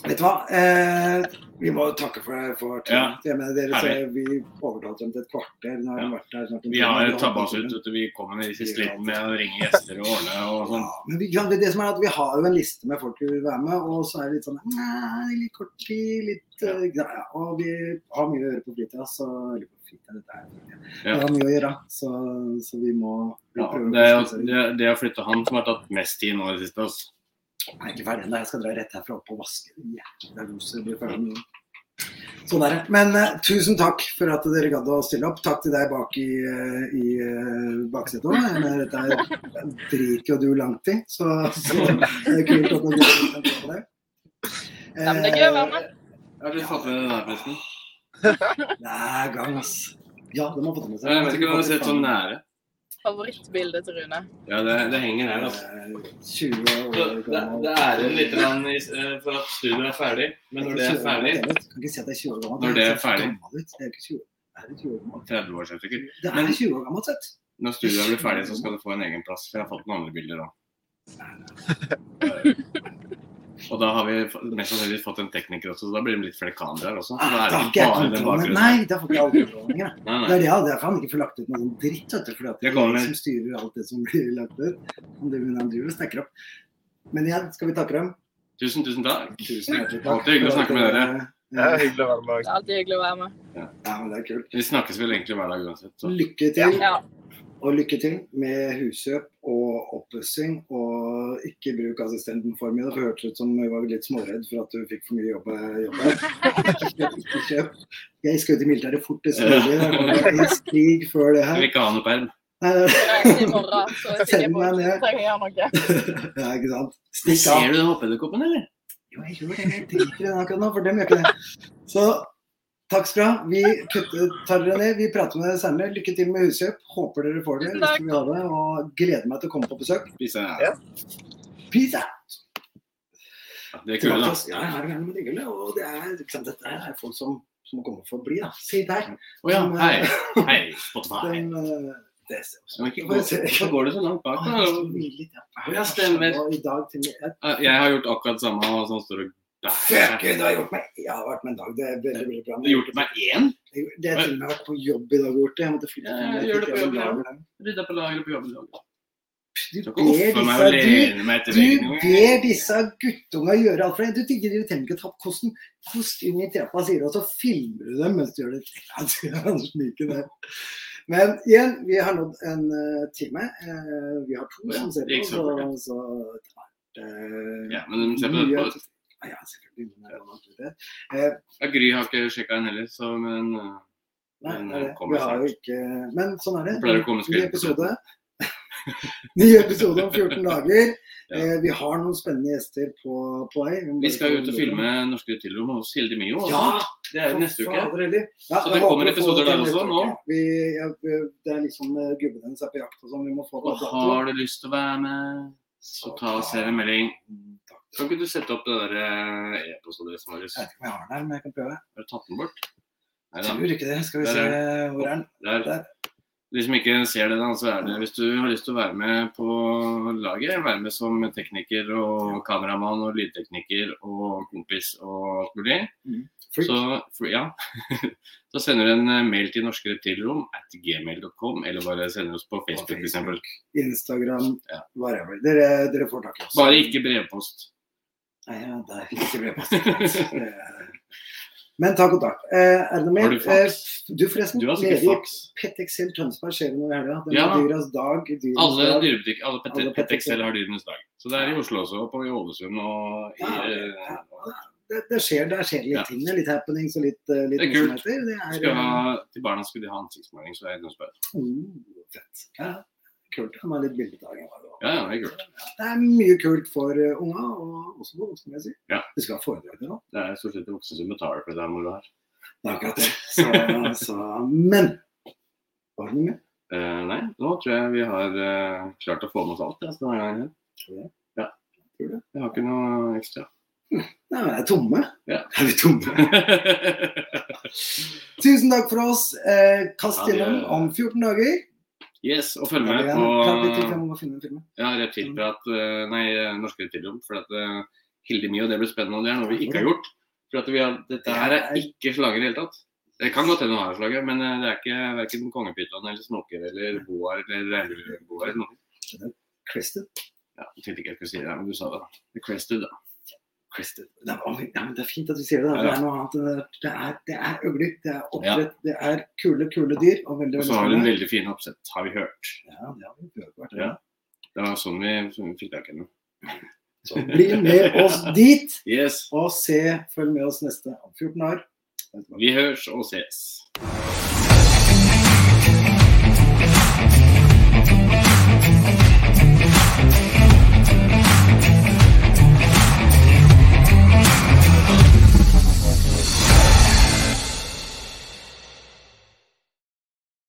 Speaker 2: Vet du hva? Eh, vi må takke for, for turen.
Speaker 1: Ja.
Speaker 2: Jeg mener, dere,
Speaker 1: Herlig.
Speaker 2: så, vi overtalte dem til et kvarter. Nå har de vært der snart en
Speaker 1: Vi
Speaker 2: time.
Speaker 1: har
Speaker 2: Vi holdt
Speaker 1: tabba oss
Speaker 2: på
Speaker 1: ut. sånn. vet du. Vi kommer med i siste liten med å ringe gjester og ordne og sånn.
Speaker 2: Ja, men vi, kan, det som er at vi har jo en liste med folk vi vil være med, og så er det litt sånn Nei, litt kort tid, litt eh, greia. Og vi har mye å gjøre på fritida, så eller på fritida, dette er fritida.
Speaker 1: Ja.
Speaker 2: Vi har mye å gjøre, så, så vi må vi
Speaker 1: Ja,
Speaker 2: prøver å
Speaker 1: det, er jo-
Speaker 2: kompensere.
Speaker 1: det, er- det er å flytte han som har tatt mest tid nå i det siste. ass.
Speaker 2: Jeg er ikke ferdig ennå. Jeg skal dra rett herfra opp og vaske jækla roser. Blir ferdig med det. Sånn er det. Men eh, tusen takk for at dere gadd å stille opp. Takk til deg bak i, eh, i eh, baksetet òg. Jeg mener, Dette er- driter jo du langt i, så, så det er kult at dere kan se på det.
Speaker 3: Ja, men det er gøy å være med.
Speaker 1: Jeg har ikke fått med den der, forresten.
Speaker 2: Eh, Nei, gang, ass. Ja, de har fått det med seg.
Speaker 1: Jeg vet ikke om du har sett sånn nære.
Speaker 3: Favorittbildet til Rune.
Speaker 1: Ja, det, det henger her, altså.
Speaker 2: Eh, 20 år
Speaker 1: Det, det- det er en liten grann i s- eh, for at studioet er ferdig, men når det
Speaker 2: Altså,
Speaker 1: er ferdig
Speaker 2: Kan ikke si at det er 20 år gammelt.
Speaker 1: Når det er
Speaker 2: Det ser
Speaker 1: ferdig.
Speaker 2: gammel ut. Det er ikke 20 år. Det er 20 år gammelt.
Speaker 1: 30 år siden sikkert.
Speaker 2: Det
Speaker 1: Men-
Speaker 2: er 20 år gammelt sett.
Speaker 1: Når studioet blir ferdig, så skal du få en egen plass. For jeg har fått noen andre bilder òg. Og da har vi f- mest sannsynlig fått en tekniker også, så da blir det litt flere kameraer også. Så da
Speaker 2: Ah, Da
Speaker 1: er det
Speaker 2: har ikke
Speaker 1: ikke
Speaker 2: jeg
Speaker 1: bare den
Speaker 2: kontroll med-
Speaker 1: bakgrunnen.
Speaker 2: Nei, da får ikke jeg all kontroll lenger. da.
Speaker 1: Nei,
Speaker 2: Det
Speaker 1: nei.
Speaker 2: er det, ja, derfor har han ikke får lagt ut noe sånn dritt, vet du. Fordi at det
Speaker 1: Jeg
Speaker 2: er
Speaker 1: kommer
Speaker 2: de
Speaker 1: med-
Speaker 2: som styrer alt det som blir lagt ut. Han driver, han driver og snakker opp. Men igjen, skal vi takke dem?
Speaker 1: Tusen, tusen takk.
Speaker 2: Tusen hjertelig takk.
Speaker 1: Alltid hyggelig å snakke med dere.
Speaker 4: Det er
Speaker 2: Ja,
Speaker 4: hyggelig å være
Speaker 3: Det
Speaker 4: med.
Speaker 3: er alltid hyggelig å være med.
Speaker 2: Ja, men det er kult.
Speaker 1: Vi snakkes vel egentlig hver dag uansett. Så.
Speaker 2: Lykke til,
Speaker 3: Ja.
Speaker 2: og lykke til med huskjøp og oppussing. Og ikke bruk assistenten for mye. da, for Det hørtes ut som du var litt småredd for at du fikk for mye jobb. eh, jobb her. Ikke kjøp, ikke kjøp. Jeg skal ut i militæret fortest mulig. Jeg kommer i skrig før det
Speaker 1: Jeg
Speaker 2: her.
Speaker 1: vil ikke ha noe perm.
Speaker 2: Nei, nei, nei.
Speaker 3: Reis i morgen, så er jeg sikker på at du ikke trenger å gjøre noe.
Speaker 2: Ja, ikke sant? Stikk av.
Speaker 1: Ser du den hoppedderkoppen, eller?
Speaker 2: Jo, jeg gjør det. Jeg driter i den akkurat nå, for dem gjør ikke det. Så takk skal du ha. Vi kutter, tar dere ned. Vi prater med dere senere. Lykke til med huskjøp. Håper dere får det.
Speaker 3: Tusen
Speaker 2: hvis
Speaker 3: takk.
Speaker 2: dere vil ha det, Og gleder meg til å komme på besøk.
Speaker 1: Spise
Speaker 4: Ja.
Speaker 2: Peace out!
Speaker 1: Det er
Speaker 2: Tilbake
Speaker 1: kul,
Speaker 2: til
Speaker 1: da.
Speaker 2: oss. Ja, her er vi med det gullet. Og det er, ikke sant? dette her er folk som, som kommer for å bli. da. Se der.
Speaker 1: Å ja. Hei. Hei, Spotify.
Speaker 2: Den, eh, det ser vi.
Speaker 1: Men ikke- Hvorfor går du så langt bak?
Speaker 2: Å, jeg er så
Speaker 1: da?
Speaker 2: villig, ja.
Speaker 1: Ja, stemmer.
Speaker 2: Og i dag til jeg
Speaker 1: Jeg har gjort akkurat samme, og sånn står du
Speaker 2: Fuck,
Speaker 1: Du
Speaker 2: du har gjort meg Jeg har vært med en dag. Det er veldig, veldig bra.
Speaker 1: har gjort meg én?
Speaker 2: Det det er til og med vært på jobb i dag, Hjorte. Jeg måtte flytte
Speaker 1: Ja,
Speaker 2: frem.
Speaker 1: jeg
Speaker 2: Jeg
Speaker 1: gjør
Speaker 2: fikk
Speaker 1: det på
Speaker 2: en
Speaker 1: jobb, ja.
Speaker 2: lager der.
Speaker 1: Rydda på lageret på jobb i dag.
Speaker 2: Du
Speaker 1: Du kan
Speaker 2: ber disse,
Speaker 1: ofre meg og
Speaker 2: du,
Speaker 1: lene meg etter
Speaker 2: du
Speaker 1: veggen.
Speaker 2: ber disse guttunga gjøre alt for deg. Du tenker de trenger ikke å ta opp kosten. Kost inn i trappa, sier du, og så filmer du dem mens du gjør det. Ja, det er han sniken der. Men igjen, vi har nådd en eh, time. Eh, vi har to som ser
Speaker 1: Det
Speaker 2: på, så,
Speaker 1: gikk så fort,
Speaker 2: så det har vært
Speaker 1: Ja, men se på dette.
Speaker 2: Ja, ja, selvfølgelig. men det er vanskelig, det. Eh,
Speaker 1: Ja, Gry har ikke sjekka den heller, så men eh,
Speaker 2: Nei,
Speaker 1: Men
Speaker 2: det er
Speaker 1: den
Speaker 2: det.
Speaker 1: kommer
Speaker 2: Vi har jo
Speaker 1: snart.
Speaker 2: ikke Men sånn er det.
Speaker 1: Den pleier å komme
Speaker 2: Ny
Speaker 1: skrevet på
Speaker 2: episode. Ny episode om 14 dager. Eh, vi har noen spennende gjester på, på vei. må
Speaker 1: Vi
Speaker 2: bare
Speaker 1: skal
Speaker 2: få
Speaker 1: jo ut og
Speaker 2: det.
Speaker 1: filme norske tilrom hos Hilde Mio.
Speaker 2: Ja!
Speaker 1: også. Det er jo
Speaker 2: for
Speaker 1: eh, neste uke.
Speaker 2: fader heller. Ja,
Speaker 1: Så
Speaker 2: jeg
Speaker 1: det
Speaker 2: håper
Speaker 1: kommer
Speaker 2: vi får
Speaker 1: episoder
Speaker 2: til
Speaker 1: der
Speaker 2: neste
Speaker 1: også,
Speaker 2: uke.
Speaker 1: nå?
Speaker 2: Vi, ja, det er liksom eh, gubben hennes er på jakt og sånn. Vi må få
Speaker 1: Og har du lyst til å være med, så ta og send en melding. Kan ikke du sette opp det der eh, e-postadressen vår?
Speaker 2: Jeg vet ikke om jeg har den her, men jeg kan prøve.
Speaker 1: Har du tatt den bort? Nei
Speaker 2: Jeg
Speaker 1: da.
Speaker 2: tror ikke det. Skal vi
Speaker 1: Der
Speaker 2: se
Speaker 1: er
Speaker 2: hvor er den?
Speaker 1: Der.
Speaker 2: Der.
Speaker 1: De som ikke ser det, da, så er det hvis du har lyst til å være med på laget, være med som tekniker og kameramann og lydtekniker og kompis og alt mulig,
Speaker 2: Freak.
Speaker 1: så, for- ja. så sender du en eh, mail til norske reptilrom at gmail.com, eller bare sender oss på
Speaker 2: På
Speaker 1: Facebook
Speaker 2: Facebook.
Speaker 1: f.eks.
Speaker 2: Instagram,
Speaker 1: Ja.
Speaker 2: whatever. Dere, dere får tak i oss.
Speaker 1: Bare ikke brevpost.
Speaker 2: Nei, ja, det er ikke brevpost. Men ta kontakt. Eh, er det noe mer?
Speaker 1: Har du fax?
Speaker 2: Eh, du forresten,
Speaker 1: Du har
Speaker 2: nede
Speaker 1: sikkert
Speaker 2: i
Speaker 1: fax.
Speaker 2: Petexel Tønsberg skjer det noe i helga. Det er
Speaker 1: Ja.
Speaker 2: dyras dag. Dyras
Speaker 1: Alle
Speaker 2: dag.
Speaker 1: dyrebutikker, alle pet-
Speaker 2: Alle
Speaker 1: Pet-Excel har dyrenes dag. Så det er i Oslo også, og på i Ålesund og i
Speaker 2: Ja,
Speaker 1: eh,
Speaker 2: Det, det skjer, der skjer litt
Speaker 1: Ja.
Speaker 2: ting. det er Litt happenings og litt, eh, litt
Speaker 1: Det er kult.
Speaker 2: morsomheter. Det er
Speaker 1: skal ha, Til barna skulle de ha ansiktsmåling, så det er noe
Speaker 2: eh,
Speaker 1: spørsmål.
Speaker 2: oh, fett. Ja, kult. Det var litt bildedag.
Speaker 1: Ja, ja, det er kult.
Speaker 2: Det er mye kult for eh, unga, og også for voksne, vil jeg si.
Speaker 1: Ja.
Speaker 2: Vi skal ha foredrag nå.
Speaker 1: Det er stort sett de voksne som betaler for det der moroa her.
Speaker 2: Det er akkurat det. Så, så, men var det noe mer?
Speaker 1: Eh, nei, nå tror jeg vi har eh, klart å få med oss alt. Ja, så denne gangen.
Speaker 2: Tror du det?
Speaker 1: Ja.
Speaker 2: Tror du det?
Speaker 1: Jeg har ikke noe ekstra.
Speaker 2: Nei, men det er tomme.
Speaker 1: Ja.
Speaker 2: Er vi tomme? Tusen takk for oss. Eh, kast
Speaker 1: Ja, det-
Speaker 2: gjennom om 14 dager.
Speaker 1: yes, og
Speaker 2: Ja,
Speaker 1: følg med
Speaker 2: det er en knapp litt til
Speaker 1: på
Speaker 2: før man må finne filmen.
Speaker 1: ja, Reptilprat, eh, nei, Norske Reptilrom. For at eh, Hilde Mio, det blir spennende. Og det er noe vi ikke har gjort. For at vi har, dette her er ikke slager i det hele tatt. Det kan godt hende hun har slager, men eh, det er ikke verken kongepyton eller snoker eller boar eller regnbueboar eller noe.
Speaker 2: Crested.
Speaker 1: Ja, jeg tenkte ikke jeg skulle si det, men du sa det. da. The Crested, da.
Speaker 2: Crested. Nei, men- ja, men det er fint at du sier det. da.
Speaker 1: Ja,
Speaker 2: Det
Speaker 1: ja.
Speaker 2: er noe annet. enn Det der. det er, det er øgler, det er oppdrett, det er kule, kule dyr. Og veldig,
Speaker 1: Og
Speaker 2: veldig
Speaker 1: så har hun
Speaker 2: spennende.
Speaker 1: veldig fine oppsett, har vi hørt.
Speaker 2: Ja, det har vi prøvd hvert
Speaker 1: Ja.
Speaker 2: år.
Speaker 1: Det var sånn vi, sånn vi fikk tak i henne.
Speaker 2: Så bli med oss dit,
Speaker 1: Yes.
Speaker 2: og se, følg med oss neste om 14 år.
Speaker 1: Vi høres og ses.